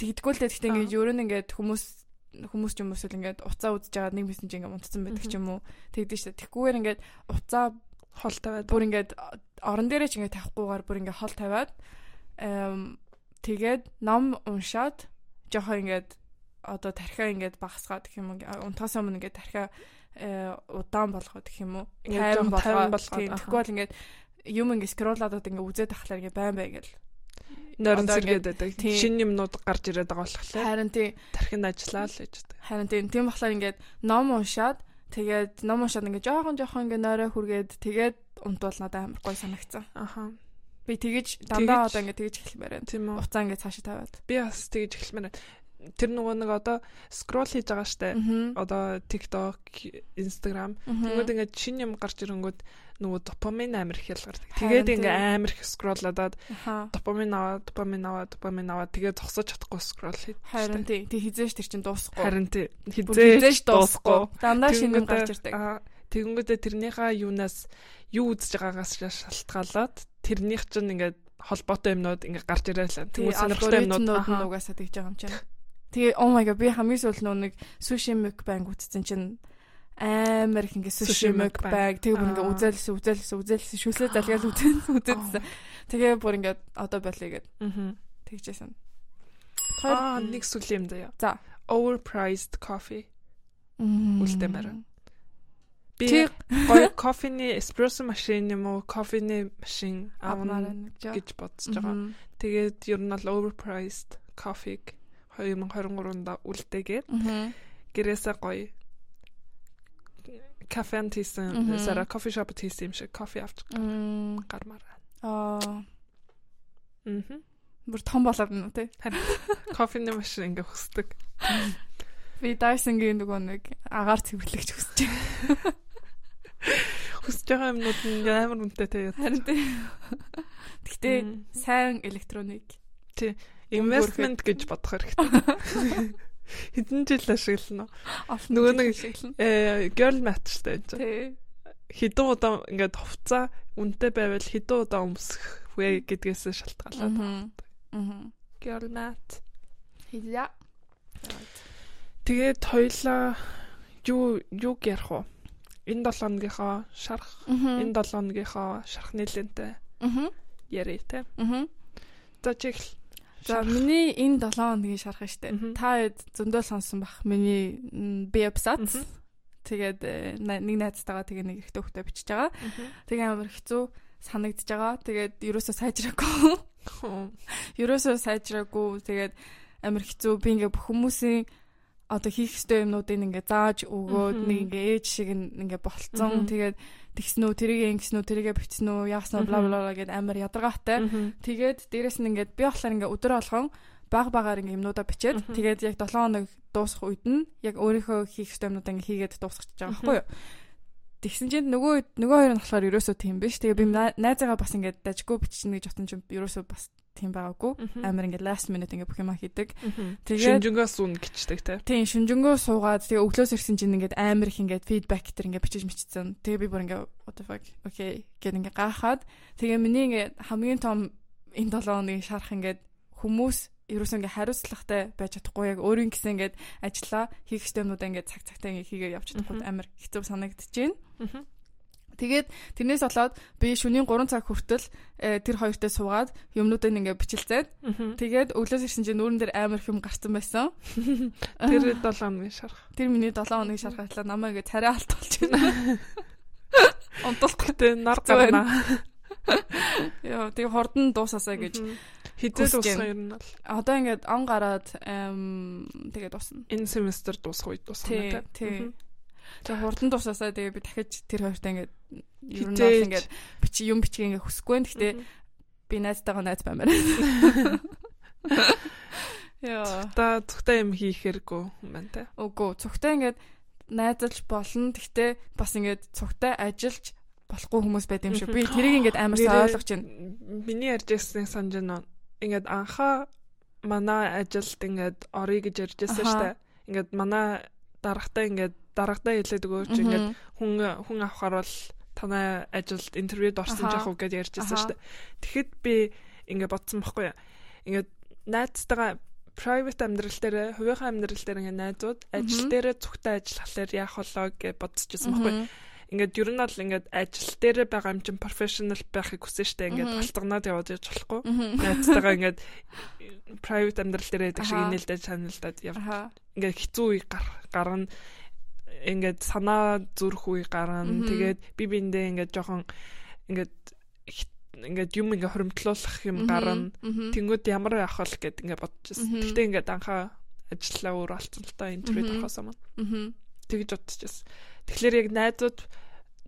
Speaker 1: тэгдэггүй л дээ. Гэхдээ ингээд ер нь ингээд хүмүүс хүмүүс ч юм уус л ингээд уцаа үдж байгаа нэг мессеж ингээд унтцсан байдаг ч юм уу. Тэгдэж штэ. Тэгхгүйгээр ингээд уцаа
Speaker 2: Холтой байдаг.
Speaker 1: бүр ингээд орон дээрээ ч ингээд тавихгүйгээр бүр ингээд хол тавиад эм тэгээд ном уншаад жоохон ингээд одоо тархиа ингээд багасгаад гэх юм уу ингээд унтахаас өмнө ингээд тархиа э, удаан болгоод гэх юм уу
Speaker 2: Ингээд жоохон тайван болгоод,
Speaker 1: тийм
Speaker 2: аха.
Speaker 1: тэгвэл ингээд юм ингээд скроллаад ингээд үзээд ахлаар ингээд байн бай гэл
Speaker 2: Нойрон
Speaker 1: Одоо
Speaker 2: сэргээд байдаг.
Speaker 1: Тийм.
Speaker 2: Шинэ юмнууд гарч ирээд байгаа болохоор
Speaker 1: харин тийм
Speaker 2: тархинд ажиллаа л гэж байдаг.
Speaker 1: Харин тийм тийм болохоор ингээд ном уншаад тэгээд ном уншаад ингээд жоохон жоохон ингээд нойроо хүргээд тэгээд унтвал надад амар гой санагцсан.
Speaker 2: Аха.
Speaker 1: Би тэгэж дандаа
Speaker 2: Тэгэж-
Speaker 1: одоо ингээд тэгэж эхлэх байна.
Speaker 2: Тийм үү.
Speaker 1: Уцаа ингээд цаашаа тавиад.
Speaker 2: Би бас тэгж эхэлмээр байна. Тэр нөгөө нэг одоо скрол хийж байгаа штэ.
Speaker 1: Мгм.
Speaker 2: Одоо TikTok, Instagram
Speaker 1: Мгм.
Speaker 2: Тэнгүүд ингээд шинэ юм гарч ирэнгүүт нөгөө допамин амар их ялгардаг. Тэгээд
Speaker 1: Харин
Speaker 2: ингээ
Speaker 1: тийм.
Speaker 2: амар их скролладаад
Speaker 1: Аха.
Speaker 2: допамин аваад, допамин аваад, допамин аваад тэгээд зогсож чадахгүй скрол хийдэг.
Speaker 1: Харин тий. Тэг хизээш тэр чин дуусахгүй.
Speaker 2: Харин тий.
Speaker 1: Бүр
Speaker 2: Хизээж дуусахгүй.
Speaker 1: Дандаа шинэ нь
Speaker 2: Тэгэнгүүтээ-
Speaker 1: гарч ирдэг.
Speaker 2: аа, Тэгэнгүүтээ тэрнийхээ юунаас юу үзэж байгаагаас шал- шалтгаалаад тэрнийх чинь ингээд холбоотой юмнууд ингээд гарч ирээ л.
Speaker 1: Тэг
Speaker 2: Тэгмүү сонирхолтой
Speaker 1: алгоритмнууд
Speaker 2: юмнууд
Speaker 1: нь
Speaker 2: аа.
Speaker 1: угаасаа тэгж байгаа юм чинь. Тэгээ oh my god би хамгийн сүүлд нөө нэг sushi mukbang үзсэн чинь амар их ингээ sushi
Speaker 2: Sushi mukbang.
Speaker 1: mukbang тэгээ бүр ингээ
Speaker 2: Аа.
Speaker 1: үзэлсэн үзэлсэн үзэлсэн шүлээ залгаал үзэлсэн үзэлсэн. Тэгээ бүр ингээ одоо болъё гэд
Speaker 2: Мгм.
Speaker 1: тэгжсэн.
Speaker 2: Аа нэг сүлийн юм заяа.
Speaker 1: За.
Speaker 2: Overpriced coffee. үлдээн барай. Би
Speaker 1: Тэг
Speaker 2: гоё кофений эспрессо машин юм уу, кофений машин
Speaker 1: авнаар
Speaker 2: авна
Speaker 1: нэг жаа.
Speaker 2: гэж бодсож байгаа. Тэгээд ер нь бол overpriced coffee 2023-нд үлдээгээд
Speaker 1: Мгм.
Speaker 2: гэрээсээ гоё кафен
Speaker 1: Мгм.
Speaker 2: тийсэн сара кофе шоп тийсэн юм шиг кофе авч
Speaker 1: Мм.
Speaker 2: гармаараа.
Speaker 1: Аа
Speaker 2: Мм.
Speaker 1: бүр том болоод байна тий.
Speaker 2: Кофений машин ингээ хөсдөг.
Speaker 1: Би Dyson-гийн нөгөө нэг агаар цэвэрлэгч хүсэж байна.
Speaker 2: Хөсөж байгаа юмнууд нь ингээ амар үнэтэй те.
Speaker 1: Харин тий. Гэтэ
Speaker 2: Мм.
Speaker 1: сайн электроник
Speaker 2: investment гэж бодох хэрэгтэй. Хэдэн жил ашиглана уу?
Speaker 1: олон
Speaker 2: Нөгөө нэг
Speaker 1: хэлэн.
Speaker 2: Э girl matchтэй энэ. чинь.
Speaker 1: Тэ.
Speaker 2: Хэдэн удаа ингээ хувцаа үнэтэй байвал хэдэн удаа өмсөх вэ гэдгээс шалтгаалаад.
Speaker 1: Аа.
Speaker 2: Girl match
Speaker 1: Хийя.
Speaker 2: Тэгээд хоёлаа юу юу ярих уу? Энэ 7 хоногийнхоо шарх, энэ
Speaker 1: Мм.
Speaker 2: 7 хоногийнхоо шарх нээлттэй
Speaker 1: Мм.
Speaker 2: ярив те.
Speaker 1: Мм.
Speaker 2: За чиглэл.
Speaker 1: За миний энэ 7 хоногийн шарах нь штэ.
Speaker 2: Мгм.
Speaker 1: Та хэд зөндөө сонсон бах миний м, би абсац.
Speaker 2: Мгм.
Speaker 1: Тэгээд э, на- нэг найзтайгаа тэгээ нэг ихтэй хөхтэй бичиж байгаа. Тэгээ амар хэцүү санагдж байгаа. Тэгээд ерөөсөө сайжраагүй. Ерөөсөө сайжраагүй. Тэгээд амар хэцүү би ингээ бүх хүмүүсийн одоо хийх ёстой юмнуудыг ингээ зааж өгөөд
Speaker 2: Мгм.
Speaker 1: нэг ингээ ээж шиг н- ингээ болцсон.
Speaker 2: Мгм.
Speaker 1: Тэгээд тэгсэн үү, тэрийг ингэсэн үү, тэрийгэ бичсэн үү, яасан уу, бла бла бла гэд амар ядаргаатай. Тэгээд дээрэс нь ингээ би болохоор ингээ өдөр болгон баг багаар ингээ юмнуудаа бичээд
Speaker 2: Мгм.
Speaker 1: тэгээд яг 7 хоног дуусах үед нь яг өөрийнхөө хийх ёстой юмнуудаа ингээ хийгээд дуусгаж байгаа байхгүй юу? Тэгсэн чинь нөгөө үед- нөгөө хоёр нь болохоор ерөөсөө тийм биш. Тэгээ би най- найзаагаа бас ингээд дажгүй бичнэ гэж утсан чинь ерөөсөө бас тийм байгаагүй. Амар ингээд last minute ингээд бүх юмаа хийдэг. Тэгээд-
Speaker 2: Шинжэнгээс үн гिचдэг те.
Speaker 1: Тийм шүнжэнгөө суугаад тэгээ өглөөс ирсэн чинь ингээд амар их ингээд фидбек төр ингээд бичиж мичсэн. Тэгээ би бүр ингээд what the fuck okay гэдэг ингээд гахаад тэгээ миний ингээд хамгийн том энэ 7 хоногийн шарах ингээд хүмүүс ерөөс ингээд хариуцлагатай байж чадахгүй яг өөрийн гэсэн ингээд ажиллаа хийх ёстой юмудаа ингээд цаг цагтаа ингээд хийгээд явж чадахгүй
Speaker 2: Мгм.
Speaker 1: амар хэцүү санагдчихээн. Тэгээд тэрнээс болоод би шөнийн 3 цаг хүртэл э, тэр хоёртой суугаад юмнуудыг ингээд бичилцээд тэгээд өглөөс ирсэн чинь нүүрэн дээр амар их юм гарсан байсан.
Speaker 2: Тэр 7 хоногийн шарх.
Speaker 1: Тэр миний 7 хоног шархатлаа намайг ингээ царай алт болж байна. Унталт.
Speaker 2: Гэтэ нар
Speaker 1: Хэцүү байна.
Speaker 2: гарна.
Speaker 1: Яа, тэг хурдан дуусаасаа гэж.
Speaker 2: Мгм. Хэдэн
Speaker 1: Хүсэж
Speaker 2: дуусах
Speaker 1: байна.
Speaker 2: юм бол
Speaker 1: Одоо ингээд он гараад эм тэгээ дуусна.
Speaker 2: энэ семестр дуусах үед дуусах нь
Speaker 1: Тий, тий. Тэг хурдан дуусаасаа тэгээ би дахиж тэр хоёртой ингээд ер нь бол
Speaker 2: Хитээж.
Speaker 1: ингээд бичи юм бичгийг ингээд хүсэхгүй байна. Гэтэ би найзтайгаа найз баймаар. Яа.
Speaker 2: Та цогтой юм хийхэрэггүй юм байна те.
Speaker 1: Үгүй, цогтой ингээд найзалж болно. Гэтэ бас ингээд цогтой ажиллаж болохгүй хүмүүс байд юм шиг. Би тэрийг ингээд амар сайн
Speaker 2: Нэрээ-
Speaker 1: ойлгож байна.
Speaker 2: Миний ярьж ирсэн санаж нь байна. ингээд анхаа манай ажилд ингээд орё гэж ярьж байсан
Speaker 1: Аха.
Speaker 2: шүү дээ. Ингээд манай дарагтаа ингээд дарагтаа хэлээд өгөөч ингээд
Speaker 1: Мгм.
Speaker 2: хүн хүн авахаар бол танай ажилд интервьюд орсон
Speaker 1: Аха.
Speaker 2: жах уу гэж ярьж байсан
Speaker 1: Аха.
Speaker 2: шүү дээ. Тэгэхэд би ингээд бодсон байхгүй юу. Ингээд найзтайгаа private амьдрал дээр, хувийнхаа амьдрал дээр ингээд найзууд ажил
Speaker 1: Мгм.
Speaker 2: дээр цогтой ажиллахлаар яах болоо гэж бодчихсон байхгүй юу
Speaker 1: Мгм.
Speaker 2: ингээд ер нь бол ингээд ажил дээр байгаа юм чинь профешнл байхыг хүсэн штэ ингээд
Speaker 1: Мгм.
Speaker 2: алтгнаад яваад яж болохгүй.
Speaker 1: Мгм.
Speaker 2: Найцтайгаа ингээд private амьдрал дээр байдаг шиг
Speaker 1: Аха.
Speaker 2: инээлдэж саналдаад яв.
Speaker 1: Аха.
Speaker 2: Ингээд хэцүү үе гар- гарна. Ингээд санаа зүрх үе гарна.
Speaker 1: Мгм.
Speaker 2: Тэгээд би биндээ ингээд жоохон ингээд хит- ингээд юм ингээд хоримтлуулах юм гарна.
Speaker 1: Тэг.
Speaker 2: Тэнгүүд ямар явах вэ гэд ингээд бодчихсон.
Speaker 1: Мгм.
Speaker 2: Гэтэ ингээд анхаа ажиллаа өөр олцсон л та интервью
Speaker 1: Мгм.
Speaker 2: орохосоо мань тэгж бодчихсон. Тэгэхээр яг найзууд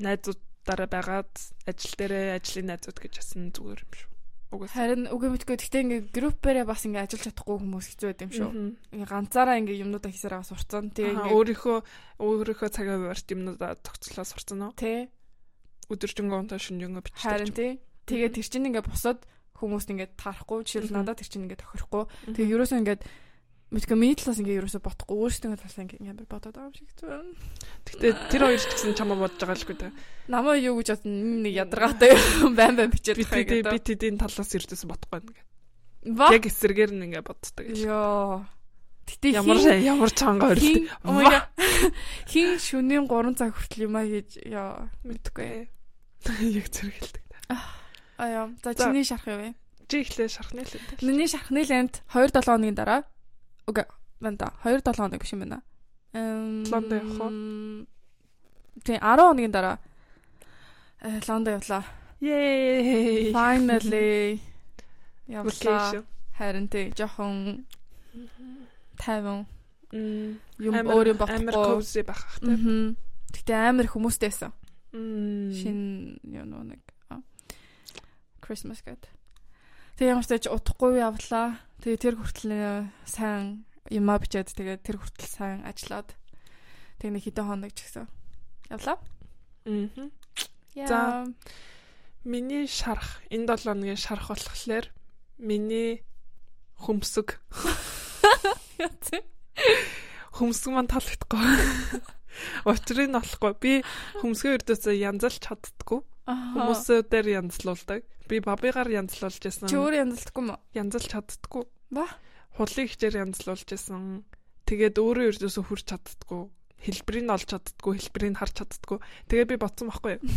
Speaker 2: найзуудаараа байгаад ажил дээрээ ажлын найзууд гэж ясан зүгээр юм шүү. Угаас.
Speaker 1: Харин үгүй мэдгүй гэхдээ ингээ группээрээ бас ингээ ажиллаж чадахгүй хүмүүс хэцүү байд юм шүү.
Speaker 2: Мгм.
Speaker 1: Ингээ ганцаараа ингээ юмнуудаа хийсээр байгаа сурцсан. Тэгээ
Speaker 2: Аха,
Speaker 1: ингээ
Speaker 2: өөрийнхөө өөрийнхөө цагаа хуваарт юмнуудаа тогтцолоо сурцсан уу?
Speaker 1: тээ
Speaker 2: өдөржингөө унтаа шүнжэнгөө бичдэг.
Speaker 1: Харин тий. Тэгээд тэр чинь ингээд бусад хүмүүст ингээд таарахгүй, жишээл
Speaker 2: Мгм.
Speaker 1: надад тэр чинь ингээд тохирохгүй. Тэгээд ерөөсөө ингээд мэдгүй миний талаас ингээд ерөөсөө бодохгүй. Өөрөөсөө ингээд талаас ингээд амар бодоод байгаа юм шиг байна.
Speaker 2: Тэгтээ тэр хоёр ч гэсэн чамаа бодож байгаа л гүй дээ.
Speaker 1: Намаа юу гэж бодно? М, Нэг ядаргаатай юм байн байн бичээд
Speaker 2: Би
Speaker 1: байгаа
Speaker 2: тэдийн би
Speaker 1: гэдэг.
Speaker 2: тэдийн талаас ирдээс бодохгүй нэг.
Speaker 1: Ба.
Speaker 2: Яг эсэргээр нь ингээ боддог. л.
Speaker 1: Йоо. Гэтэ
Speaker 2: Ямар
Speaker 1: хин-
Speaker 2: ямар
Speaker 1: хин-
Speaker 2: чанга орилт.
Speaker 1: Oh my god. Хин шөнийн 3 цаг хүртэл юмаа хийж ёо.
Speaker 2: мэдгүй. Яг зэрэгэлдэг.
Speaker 1: А ёо. За
Speaker 2: За.
Speaker 1: чиний шарах юу вэ?
Speaker 2: Жи ихлэ шархны л энэ.
Speaker 1: Миний шархны лент 2-7 хоногийн дараа. Үгүй байна да. 2-7 хоног биш юм байна. Эм.
Speaker 2: Лондон явах уу?
Speaker 1: Тэг 10 хоногийн дараа. Э, Лондон явлаа.
Speaker 2: Yay.
Speaker 1: Finally. Явлаа.
Speaker 2: Vacation.
Speaker 1: Харин тий жоохон тайван
Speaker 2: Мм.
Speaker 1: юм
Speaker 2: Амар-
Speaker 1: өөр юм бодохгүй.
Speaker 2: Амар cozy байх бах тэ.
Speaker 1: Мгм. Гэтэ амар хүмүүстэй байсан.
Speaker 2: Мм.
Speaker 1: Шинэ юм уу нэг аа. Christmas гэдэг. Тэгээ ямар ч тач удахгүй явлаа. Тэгээ тэр хүртэл э, сайн юмаа бичээд тэгээ тэр хүртэл сайн ажиллаад тэг нэг хэдэн хоног ч гэсэн явлаа.
Speaker 2: Мгм.
Speaker 1: Яа.
Speaker 2: Миний шарах энэ 7 хоногийн шарах болохоор миний хөмсг хөмсг маань таалагдахгүй. Учрыг нь олохгүй. Би хөмсгөө өрдөөсөө янзалж чаддаггүй. Хүмүүсээр янзлуулдаг. Би бабыгаар янзлуулж
Speaker 1: чи
Speaker 2: байсан.
Speaker 1: өөр янзлдаггүй юм уу?
Speaker 2: Янзалж чаддаггүй.
Speaker 1: Ба?
Speaker 2: Худлын хичээр янзлуулж байсан. Тэгээд өөрөө өрдөөсөө хүрч чаддаггүй. Хэлбэрийг нь олж чаддаггүй, хэлбэрийг нь харж чаддаггүй. Тэгээд би бодсон байхгүй юу?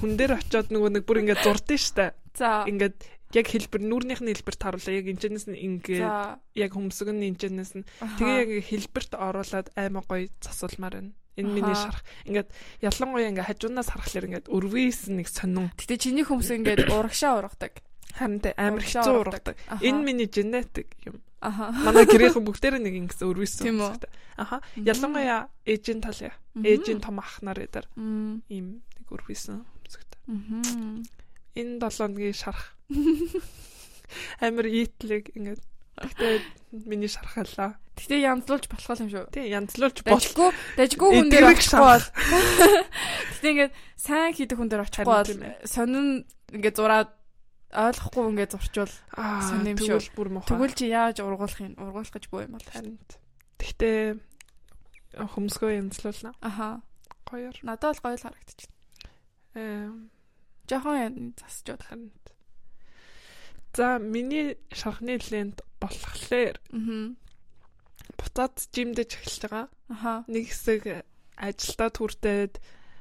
Speaker 2: Хүн дээр очиод нөгөө нэг бүр ингээд зурдсан штэ.
Speaker 1: За.
Speaker 2: Ингээд яг хэлбэр нүүрнийх нь хэлбэр таруулаа. Яг энэчнээс нь ингээд
Speaker 1: За.
Speaker 2: яг хөмсг нь энэчнээс нь Тэгээ яг хэлбэрт оруулаад аймаг гоё засуулмаар байна. Энэ миний
Speaker 1: Аха.
Speaker 2: шарах. Ингээд ялангуяа ингээ хажуунаас харахлаар ингээд өрвөөс нэг сонин.
Speaker 1: Гэтэ чиний хүмүүс ингээд урагшаа ургадаг.
Speaker 2: Харин тэ амар
Speaker 1: Урагшаа
Speaker 2: хэцүү
Speaker 1: ургадаг.
Speaker 2: ургадаг.
Speaker 1: Аха.
Speaker 2: Энэ миний генетик юм.
Speaker 1: Аха.
Speaker 2: Манай гэрийнхэн бүгдээр нэг ингэсэн өрвөөс
Speaker 1: Тийм үү?
Speaker 2: үүсгэдэг. Аха. Ялангуяа ээжийн тал яа.
Speaker 1: Мгм.
Speaker 2: Ээжийн том ах нар эдэр
Speaker 1: Мм.
Speaker 2: ийм нэг өрвөөс үүсгэдэг.
Speaker 1: Мгм.
Speaker 2: Энэ 7 өдрийн шарах. Амар ийтлэг ингээд Гэтэ миний шархалаа.
Speaker 1: Гэтэ янзлуулж болох юм шүү.
Speaker 2: Тий, янзлуулж болох.
Speaker 1: Дажгүй, дажгүй хүн дээр
Speaker 2: Эдгэрэг
Speaker 1: очихгүй бол. Гэтэ ингээд сайн хийдэг хүн дээр очихгүй бол
Speaker 2: Харин тийм ээ.
Speaker 1: сонин ингээд зураад ойлгохгүй ингээд зурчвал
Speaker 2: Аа,
Speaker 1: Сонин юм шүү.
Speaker 2: тэгвэл бүр муухай.
Speaker 1: тэгвэл чи яаж ургуулах юм? Ургуулах гэж боо юм бол.
Speaker 2: Танд. Тэгтээ хөмсгөө янзлуулна.
Speaker 1: Аха.
Speaker 2: Гоёор.
Speaker 1: Надад бол гоё л харагдчих.
Speaker 2: Эм,
Speaker 1: Жохон ян- засч удах.
Speaker 2: Танд. За, миний шархны лент болохоор
Speaker 1: Мгм.
Speaker 2: буцаад жимдэж эхэлж байгаа.
Speaker 1: Аха.
Speaker 2: Нэг хэсэг ажилдаа түртээд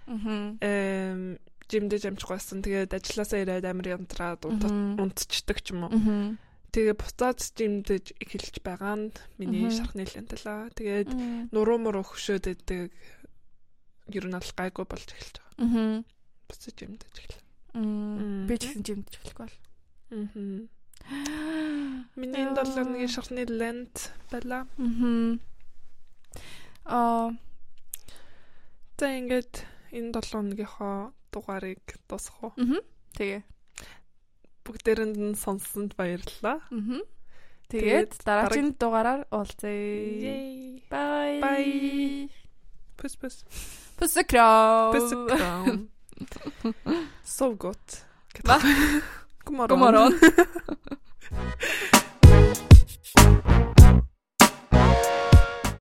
Speaker 1: Мгм.
Speaker 2: эм жимдэж амжихгүйсэн. Тэгээд ажилласаа ирээд амир янзраад унтаад
Speaker 1: Мгм.
Speaker 2: унтцдаг ч юм уу.
Speaker 1: Мгм.
Speaker 2: Тэгээ буцаад жимдэж эхэлж байгаа нь миний
Speaker 1: Мгм.
Speaker 2: шархны лент лаа. Тэгээд нуруу муруу хөшөөд өгдөг ер нь бол гайгүй болж эхэлж байгаа.
Speaker 1: Мгм.
Speaker 2: Буцаж жимдэж эхэлж
Speaker 1: Мм.
Speaker 2: Мм.
Speaker 1: Би ч гэсэн жимдэж эхлэхгүй бол.
Speaker 2: Мгм. Миний энэ
Speaker 1: Яа.
Speaker 2: 7 өдрийн шархны лент байла.
Speaker 1: Мгм. Аа,
Speaker 2: За ингээд энэ 7 өдрийнхөө дугаарыг дуусгах уу?
Speaker 1: тэгээ.
Speaker 2: Бүгдээрэнд нь сонссонд баярлалаа.
Speaker 1: Мгм. Тэгээд дараагийн дугаараар уулзъя.
Speaker 2: Yay.
Speaker 1: Bye.
Speaker 2: Bye. Пүс пүс.
Speaker 1: Pussykram.
Speaker 2: Пүс. крам. Sov gott.
Speaker 1: Va?
Speaker 2: God morgon.
Speaker 1: God morgon.